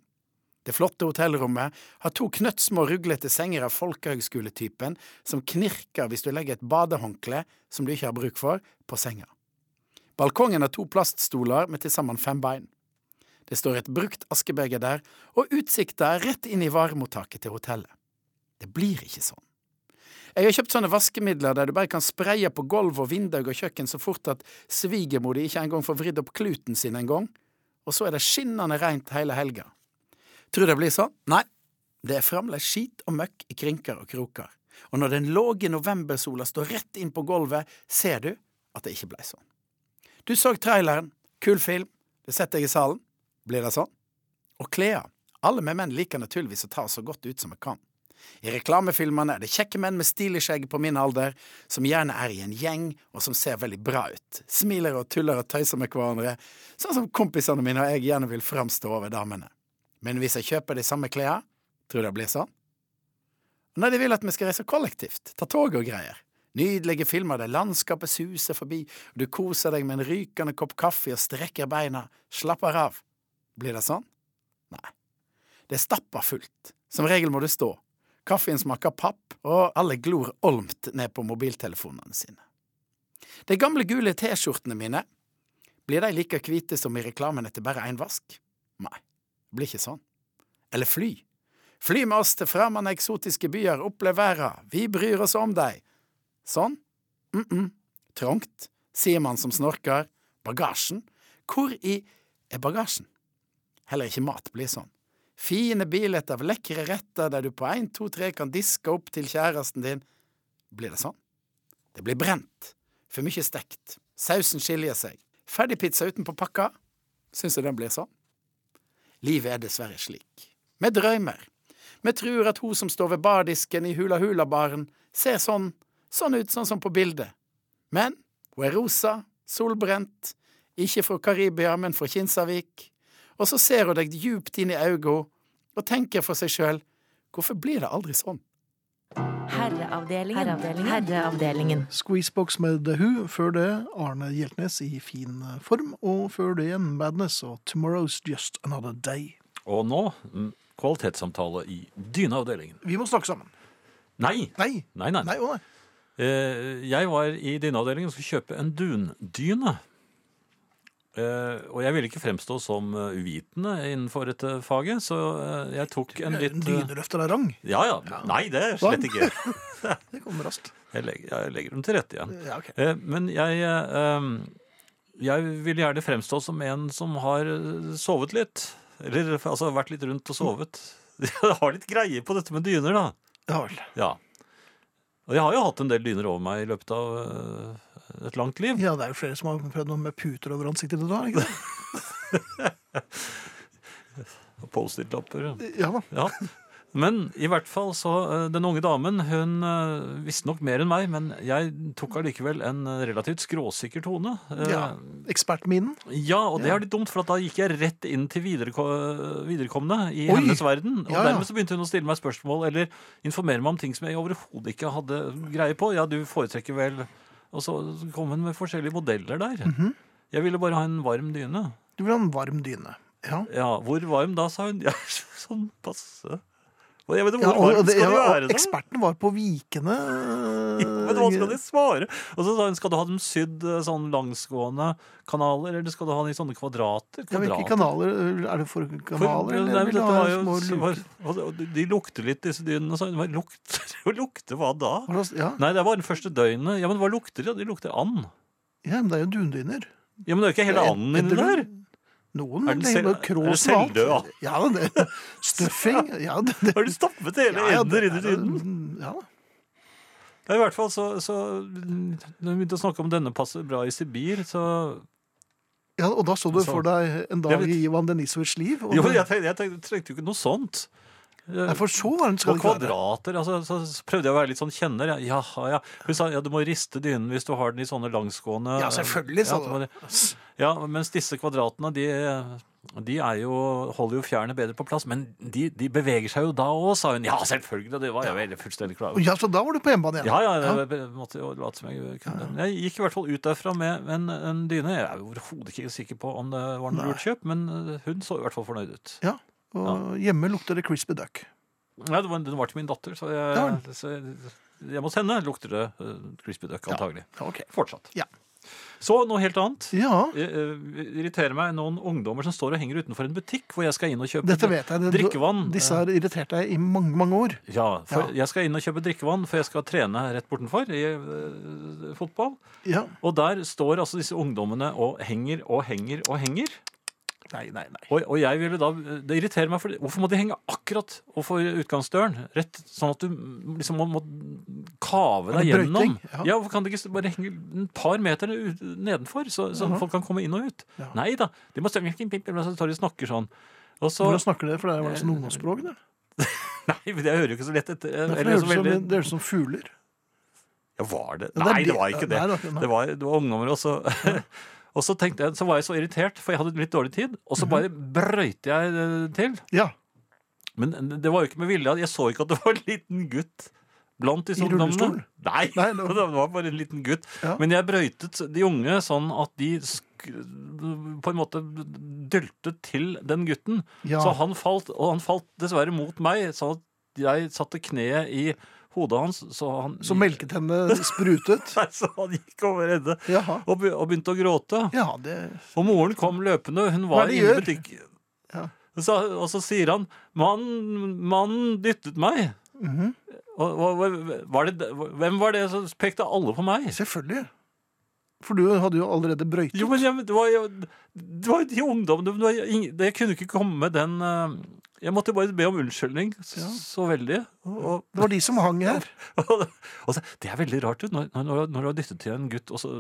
S7: Det flotte hotellrommet har to knøttsmå ruglete senger av folkehøgskoletypen som knirker hvis du legger et badehåndkle som du ikke har bruk for, på senga. Balkongen har to plaststoler med til sammen fem bein. Det står et brukt askebeger der, og utsikta er rett inn i varemottaket til hotellet. Det blir ikke sånn. Jeg har kjøpt sånne vaskemidler der du bare kan spreie på gulv og vinduer og kjøkken så fort at svigermor di ikke engang får vridd opp kluten sin engang, og så er det skinnende reint hele helga. Tror du det blir sånn? Nei. Det er fremdeles skit og møkk i krinker og kroker. Og når den låge novembersola står rett inn på gulvet, ser du at det ikke ble sånn. Du så traileren. Kul film. Det setter jeg i salen. Blir det sånn? Og klær. Alle vi menn liker naturligvis å ta oss så godt ut som vi kan. I reklamefilmene er det kjekke menn med stilig skjegg på min alder, som gjerne er i en gjeng, og som ser veldig bra ut. Smiler og tuller og tøyser med hverandre, sånn som kompisene mine og jeg gjerne vil framstå over damene. Men hvis jeg kjøper de samme klærne, tror du det blir sånn? Nei, de vil at vi skal reise kollektivt, ta tog og greier. Nydelige filmer der landskapet suser forbi, og du koser deg med en rykende kopp kaffe og strekker beina, slapper av. Blir det sånn? Nei. Det er stappa fullt. Som regel må du stå. Kaffen smaker papp, og alle glor olmt ned på mobiltelefonene sine. De gamle gule T-skjortene mine, blir de like hvite som i reklamen etter bare én vask? Nei blir ikke sånn. Eller fly. Fly med oss til fremmede eksotiske byer, opplev verden, vi bryr oss om deg. Sånn? Mm-mm. Trangt, sier man som snorker, Bagasjen? Hvor i er bagasjen? Heller ikke mat blir sånn. Fine biletter av lekre retter der du på én, to, tre kan diske opp til kjæresten din. Blir det sånn? Det blir brent. For mye stekt. Sausen skiljer seg. Ferdigpizza utenpå pakka. Syns du den blir sånn? Livet er dessverre slik. Vi drømmer. Vi tror at hun som står ved bardisken i Hula Hula-baren, ser sånn, sånn ut, sånn som på bildet. Men hun er rosa, solbrent, ikke fra Karibia, men fra Kinsarvik. Og så ser hun deg djupt inn i øynene og tenker for seg sjøl, hvorfor blir det aldri sånn?
S4: Herreavdelingen. Herreavdelingen.
S2: Squeezebox med The Who, før det Arne Hjeltnes i fin eh, form, og før det igjen Madness og Tomorrow's Just Another Day.
S3: Og nå mm, kvalitetssamtale i dyneavdelingen.
S2: Vi må snakke sammen.
S3: Nei!
S2: Nei!
S3: Nei, nei.
S2: Nei, å nei.
S3: Eh, jeg var i dyneavdelingen og skulle kjøpe en dundyne. Eh, og jeg ville ikke fremstå som eh, uvitende innenfor dette faget, så eh, jeg tok en litt eh,
S2: Dyneløfter er rang.
S3: Ja, ja. Nei, det er slett ikke.
S2: Det kommer raskt.
S3: Jeg legger, jeg legger dem til rette igjen.
S2: Ja, ok.
S3: Eh, Men jeg eh, ehm, Jeg vil gjerne fremstå som en som har eh, sovet litt. Eller altså vært litt rundt og sovet. [laughs] Jeg har litt greie på dette med dyner, da.
S2: Ja vel.
S3: Ja. Og jeg har jo hatt en del dyner over meg i løpet av eh, et langt liv.
S2: Ja, det er jo flere som har prøvd noe med puter over ansiktet til deg,
S3: [laughs]
S2: ikke det?
S3: Post-it-lapper.
S2: Ja da.
S3: Ja. Men i hvert fall så eh, Den unge damen hun eh, visste nok mer enn meg, men jeg tok allikevel en eh, relativt skråsikker tone. Eh,
S2: Ja. Ekspertminen.
S3: Ja, og det er litt dumt, for at da gikk jeg rett inn til videreko viderekomne i
S2: Oi!
S3: hennes verden. Og
S2: Ja, ja.
S3: dermed så begynte hun å stille meg spørsmål eller informere meg om ting som jeg overhodet ikke hadde greie på. Ja, du foretrekker vel Og så kom hun med forskjellige modeller der.
S2: Mhm.
S3: Jeg ville bare ha en varm dyne.
S2: Du vil ha en varm dyne. Ja.
S3: Ja, hvor varm da, sa hun. [laughs] Ja, sånn passe. Og jeg vet ikke
S2: Ja,
S3: hvor
S2: og,
S3: varm
S2: det,
S3: skal
S2: ja,
S3: det
S2: og
S3: være, da?
S2: eksperten var på
S3: [laughs]
S2: Vikene. eh,
S3: Men hva skal de svare? Og så sa hun, skal du ha dem sydd eh, sånn langsgående kanaler, eller skal du ha dem i sånne kvadrater?
S2: Ja, hvilke kanaler? Er det for
S3: For,
S2: kanaler,
S3: nei,
S2: eller
S3: men
S2: vil du
S3: dette
S2: ha
S3: var jo,
S2: små
S3: så
S2: luker?
S3: var, altså, og de- de lukter litt, disse dyrene. Så, hva lukter, [laughs] hva lukter hva da?
S2: Hva slags- Ja,
S3: Nei, det var den første døgnet. Ja, men hva lukter det? De lukter and.
S2: ja, men det er jo dundyner.
S3: Ja, men det er jo ikke hele
S2: Ja,
S3: anden inni
S2: etter du-
S3: der.
S2: Noen
S3: Er den
S2: legger
S3: selv-
S2: bare krås
S3: er det
S2: med alt.
S3: selvdød,
S2: Ja, men det, [laughs] stuffing. Ja, det, det,
S3: Har du stappet hele
S2: ja, ja,
S3: ender
S2: det
S3: inn i
S2: er-
S3: dynen?
S2: Ja, da.
S3: Ja, i hvert fall så, så Når vi begynte å snakke om denne passer bra i Sibir, så
S2: ja, og da så du
S3: Så-
S2: for deg en
S3: Jeg
S2: dag
S3: vet-
S2: i Ivan Denisovs liv. Og,
S3: Jo, men jeg tenkte, jeg tenkte, jeg trengte jo ikke noe sånt.
S2: Nei, for så varmt skal
S3: Og
S2: det ikke være.
S3: kvadrater. Altså, så så prøvde jeg å være litt sånn kjenner. jeg. Jaha, ja. Hun sa ja, du må riste dynen hvis du har den i sånne langsgående
S2: Ja, selvfølgelig, sa
S3: ja,
S2: du.
S3: du må- Ja, mens disse kvadratene, de, de er jo, holder jo fjærene bedre på plass, men de, de beveger seg jo da òg, sa hun. Ja, selvfølgelig, og det var jeg veldig fullstendig klar over.
S2: Ja, så da var du på hjemmebane igjen.
S3: Ja, ja, jeg be- måtte jo late som jeg kunne. Men Jeg gikk i hvert fall ut derfra med en, en dyne. Jeg er jo overhodet ikke sikker på om det var noe lurt kjøp, men eh, hun så i hvert fall fornøyd ut.
S2: Ja, Og hjemme lukter det crispy duck.
S3: Nei, det var, den var til min datter, så jeg,
S2: Ja
S3: så jeg, hjemme hos henne lukter det eh, crispy duck, antagelig.
S2: Ja, ok.
S3: Fortsatt.
S2: Ja.
S3: Så noe helt annet.
S2: Ja,
S3: Eh, eh, irriterer meg noen ungdommer som står og henger utenfor en butikk hvor jeg skal inn og kjøpe
S2: dette vet jeg. Det-
S3: drikkevann.
S2: Disse har irritert deg i mange, mange år.
S3: Ja, for
S2: Ja.
S3: jeg skal inn og kjøpe drikkevann, for jeg skal trene rett bortenfor i eh, fotball.
S2: Ja.
S3: Og der står altså disse ungdommene og henger og henger og henger.
S2: Nei, nei, nei.
S3: Og, og jeg ville da, Det irriterer meg, for hvorfor må de henge akkurat overfor utgangsdøren? Rett, sånn at du liksom må, må kave
S2: Er
S3: deg
S2: det
S3: gjennom.
S2: brøyting? Ja.
S3: Ja. Hvorfor kan de ikke bare henge en par meter ut- nedenfor, så, så folk kan komme inn og ut?
S2: Ja.
S3: Nei da. De må stå så tar de og snakker sånn. Og så,
S2: Hvordan snakker dere? For det var det sånn ungdomsspråk. det.
S3: [laughs] nei, men jeg hører jo ikke så lett etter.
S2: Derfor
S3: Eller
S2: høres
S3: så
S2: det
S3: veldig-
S2: som- det høres ut som fugler.
S3: Ja, var det?
S2: Ja, det er
S3: Nei, det
S2: det-
S3: var ikke det.
S2: Nei, det var ikke det.
S3: Det var, det var ungdommer også. [laughs] Og så tenkte jeg, så var jeg så irritert, for jeg hadde litt dårlig tid.
S2: Mhm.
S3: Og så bare brøyte jeg eh, til.
S2: Ja,
S3: Men det var jo ikke med vilje. Jeg så ikke at det var en liten gutt blant disse
S2: I rullestol?
S3: ungdommene. Nei,
S2: Nei, det
S3: [laughs] det
S2: var-
S3: var... bare en liten gutt.
S2: Ja.
S3: Men jeg brøytet de unge sånn at de sk på en måte dyltet til den gutten.
S2: Ja.
S3: Så han falt, og han falt dessverre mot meg, så jeg satte kneet i hodet hans, så han
S2: Så melketennene sprutet.
S3: [laughs] Nei, så han gikk over ende
S2: Jaha.
S3: og, be og begynte å gråte.
S2: Ja, det
S3: Og moren kom løpende. Hun
S2: Hva er
S3: var
S2: det
S3: inne i
S2: gjør?
S3: butikk.
S2: Ja.
S3: Så, og så sier han Mannen mannen dyttet meg.
S2: Mhm.
S3: og, og, og- var det, Hvem var det som pekte alle på meg?
S2: Selvfølgelig. For du hadde jo allerede brøytet.
S3: Jo, men jeg, det var jo det var jo i ungdommen det var ingen, det, Jeg kunne ikke komme med den eh, Jeg måtte jo bare be om unnskyldning så,
S2: Ja.
S3: så veldig. Og,
S2: Det var de som hang her.
S3: og [laughs] så, det er veldig rart ut når, når, når du har dyttet til en gutt og så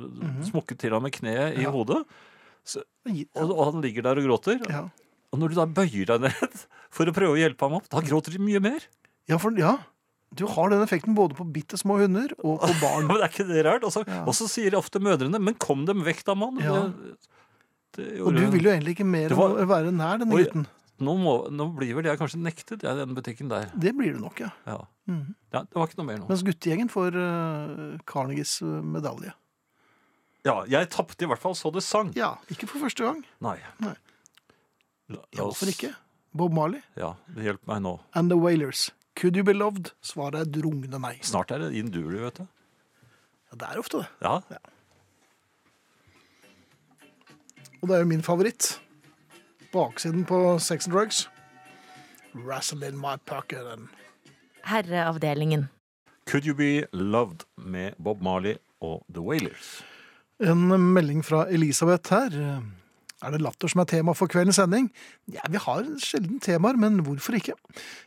S3: smukket til ham med kneet
S2: Mhm.
S3: i
S2: Ja.
S3: hodet, og, og han ligger der og gråter.
S2: Ja,
S3: Og når du da bøyer deg ned [laughs] for å prøve å hjelpe ham opp, da gråter de mye mer.
S2: ja for ja. du har den effekten både på bitte små hunder og på
S3: Ja,
S2: barn.
S3: men er ikke det rart? Og så
S2: Ja.
S3: og så sier ofte mødrene 'men kom dem vekk, da, mann'.
S2: Ja.
S3: Det- det
S2: Og
S3: gjorde-
S2: du vil jo egentlig ikke mer
S3: Det var-
S2: enn å være nær denne
S3: Oi.
S2: gutten.
S3: nå, må, nå blir vel jeg kanskje nektet, jeg, den butikken der.
S2: Det blir du nok, ja.
S3: Ja.
S2: Mhm.
S3: ja. Det var ikke noe mer nå.
S2: Mens guttegjengen får eh, Carnegies eh, medalje.
S3: Ja, jeg tapte i hvert fall så det sang.
S2: Ja, ikke for første gang.
S3: Nei.
S2: Nei.
S3: La, la
S2: Ja, hvorfor
S3: oss-
S2: ikke? Bob Marley
S3: Ja, hjelp meg nå.
S2: and the Wailers. Could you be loved? Svaret er et rungende nei.
S3: Snart er det in duly, vet du.
S2: Ja, det er ofte det.
S3: Ja.
S2: Og det er jo min favoritt. Baksiden på Sex and Drugs. Wrestle in my pocket and
S4: Herreavdelingen.
S3: Could You Be Loved med Bob Marley og The Wailers.
S2: En melding fra Elisabeth her. Er det latter som er tema for kveldens sending? Ja, vi har sjelden temaer, men hvorfor ikke?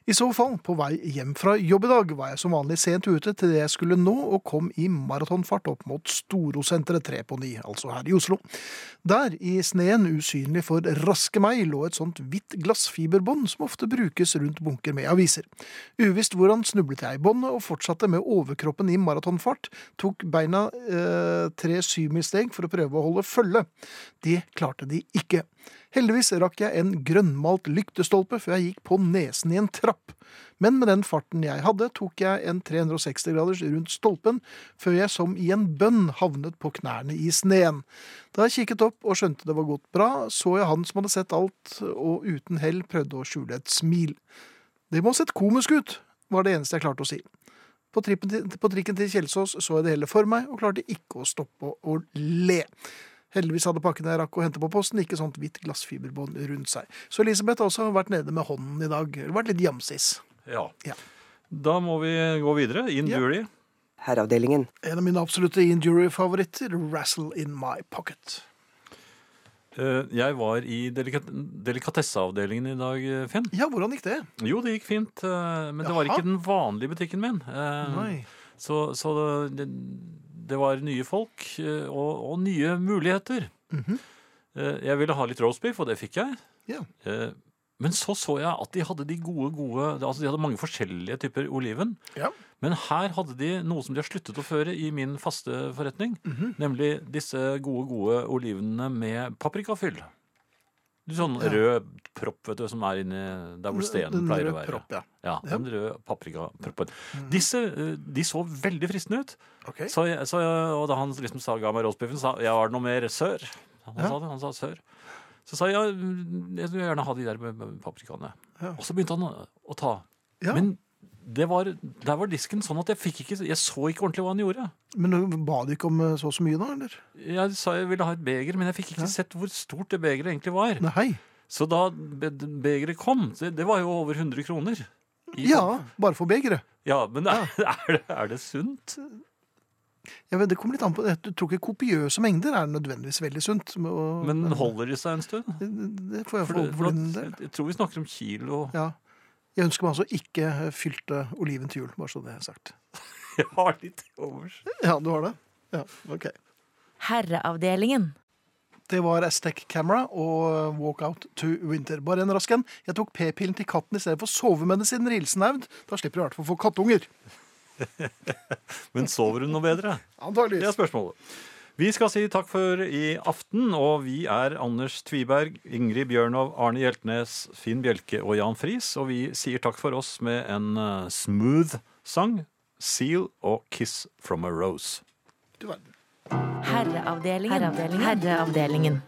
S2: I så fall, på vei hjem fra jobb i dag var jeg som vanlig sent ute til det jeg skulle nå, og kom i maratonfart opp mot Storosenteret 3 på 9, altså her i Oslo. Der, i sneen, usynlig for raske meg, lå et sånt hvitt glassfiberbånd som ofte brukes rundt bunker med aviser. Uvisst hvordan snublet jeg i båndet og fortsatte med overkroppen i maratonfart, tok beina eh, tre syvmilssteg for å prøve å holde følge. Det klarte de ikke. Heldigvis rakk jeg en grønnmalt lyktestolpe før jeg gikk på nesen i en trapp. Men med den farten jeg hadde, tok jeg en 360-graders rundt stolpen, før jeg som i en bønn havnet på knærne i sneen. Da jeg kikket opp og skjønte det var gått bra, så jeg han som hadde sett alt, og uten hell prøvde å skjule et smil. Det må ha sett komisk ut, var det eneste jeg klarte å si. På, trippen til, på trikken til Kjelsås så jeg det hele for meg, og klarte ikke å stoppe å le. Heldigvis hadde pakken jeg rakk å hente på posten, ikke sånt hvitt glassfiberbånd rundt seg. Så Elisabeth har også vært nede med hånden i dag. Eller Vært litt jamsis.
S3: Ja.
S2: Ja.
S3: Da må vi gå videre. In
S2: Ja.
S3: duly.
S5: Herreavdelingen.
S2: En av mine absolutte injury-favoritter, 'Wrestle in my pocket'.
S3: Eh, Jeg var i delikat delikatesseavdelingen i dag, eh, Finn.
S2: Ja, hvordan gikk det?
S3: Jo, det gikk fint, eh, men det var
S2: Jaha.
S3: ikke den vanlige butikken min. Eh,
S2: Nei.
S3: Så, så det, det var nye folk eh, og, og nye muligheter.
S2: Mhm.
S3: Eh, Jeg ville ha litt roastbeef, og det fikk jeg.
S2: Ja.
S3: Eh, Men så så jeg at de hadde de gode, gode altså De hadde mange forskjellige typer oliven.
S2: Ja.
S3: Men her hadde de noe som de har sluttet å føre i min faste forretning.
S2: Mhm.
S3: Nemlig disse gode, gode olivenene med paprikafyll. Du Sånn
S2: Ja.
S3: rød propp vet du, som er inni der hvor stenen
S2: Den
S3: pleier å
S2: røde
S3: være.
S2: Propp, ja.
S3: Ja,
S2: Ja. Mhm.
S3: den røde paprikaproppen. Disse eh, de så veldig fristende ut.
S2: Ok.
S3: Så, jeg- så, jeg- og da han liksom sa, ga meg roastbiffen, sa ja, var det noe mer sør? Han
S2: Ja.
S3: sa det, han sa sør. Så sa jeg ja, mm, jeg skulle gjerne ha de der med- med paprikaene.
S2: Ja.
S3: Og så begynte han å- å ta.
S2: Ja. Men,
S3: Men det var, der var disken sånn at jeg fikk ikke, jeg så ikke ordentlig hva han gjorde.
S2: du ba du ikke om eh, så og så mye da, eller?
S3: Jeg sa jeg ville ha et beger, men jeg fikk
S2: Ja.
S3: ikke sett hvor stort det begeret egentlig var.
S2: Nei.
S3: Så da be- begeret kom, det, det var jo over 100 kroner. I-
S2: Ja, bare for begeret.
S3: Ja, men er, [laughs] er, det, er det sunt?
S2: Jeg vet, det kommer litt an på, jeg tror ikke kopiøse mengder er nødvendigvis veldig sunt. og-
S3: Men holder de seg en stund?
S2: Det, det får jeg
S3: For
S2: få
S3: det-
S2: opp
S3: for
S2: for din
S3: at-
S2: del.
S3: jeg- Jeg tror vi snakker om kilo.
S2: Ja. Jeg ønsker meg altså ikke eh, fylte oliven til jul, bare så det er sagt.
S3: [laughs] Jeg har litt overs.
S2: Ja, du har det? Ja, ok.
S4: Herreavdelingen.
S2: Det var Aztec Camera og Walk Out to Winter. Bare en rask en. Jeg tok p-pillen til katten i stedet for sovemedisinen Rilsenaud. Da slipper du i hvert fall å få kattunger.
S3: Men sover hun noe bedre? Det er
S2: Antageligvis.
S3: spørsmålet. Vi skal si takk for i aften, og vi er Anders Tviberg, Ingrid Bjørnov, Arne Hjeltnes, Finn Bjelke og Jan Friis. Og vi sier takk for oss med en eh, smooth sang, Seal og Kiss from a Rose.
S2: Du verden.
S4: Herreavdelingen. Herreavdelingen. Herreavdelingen.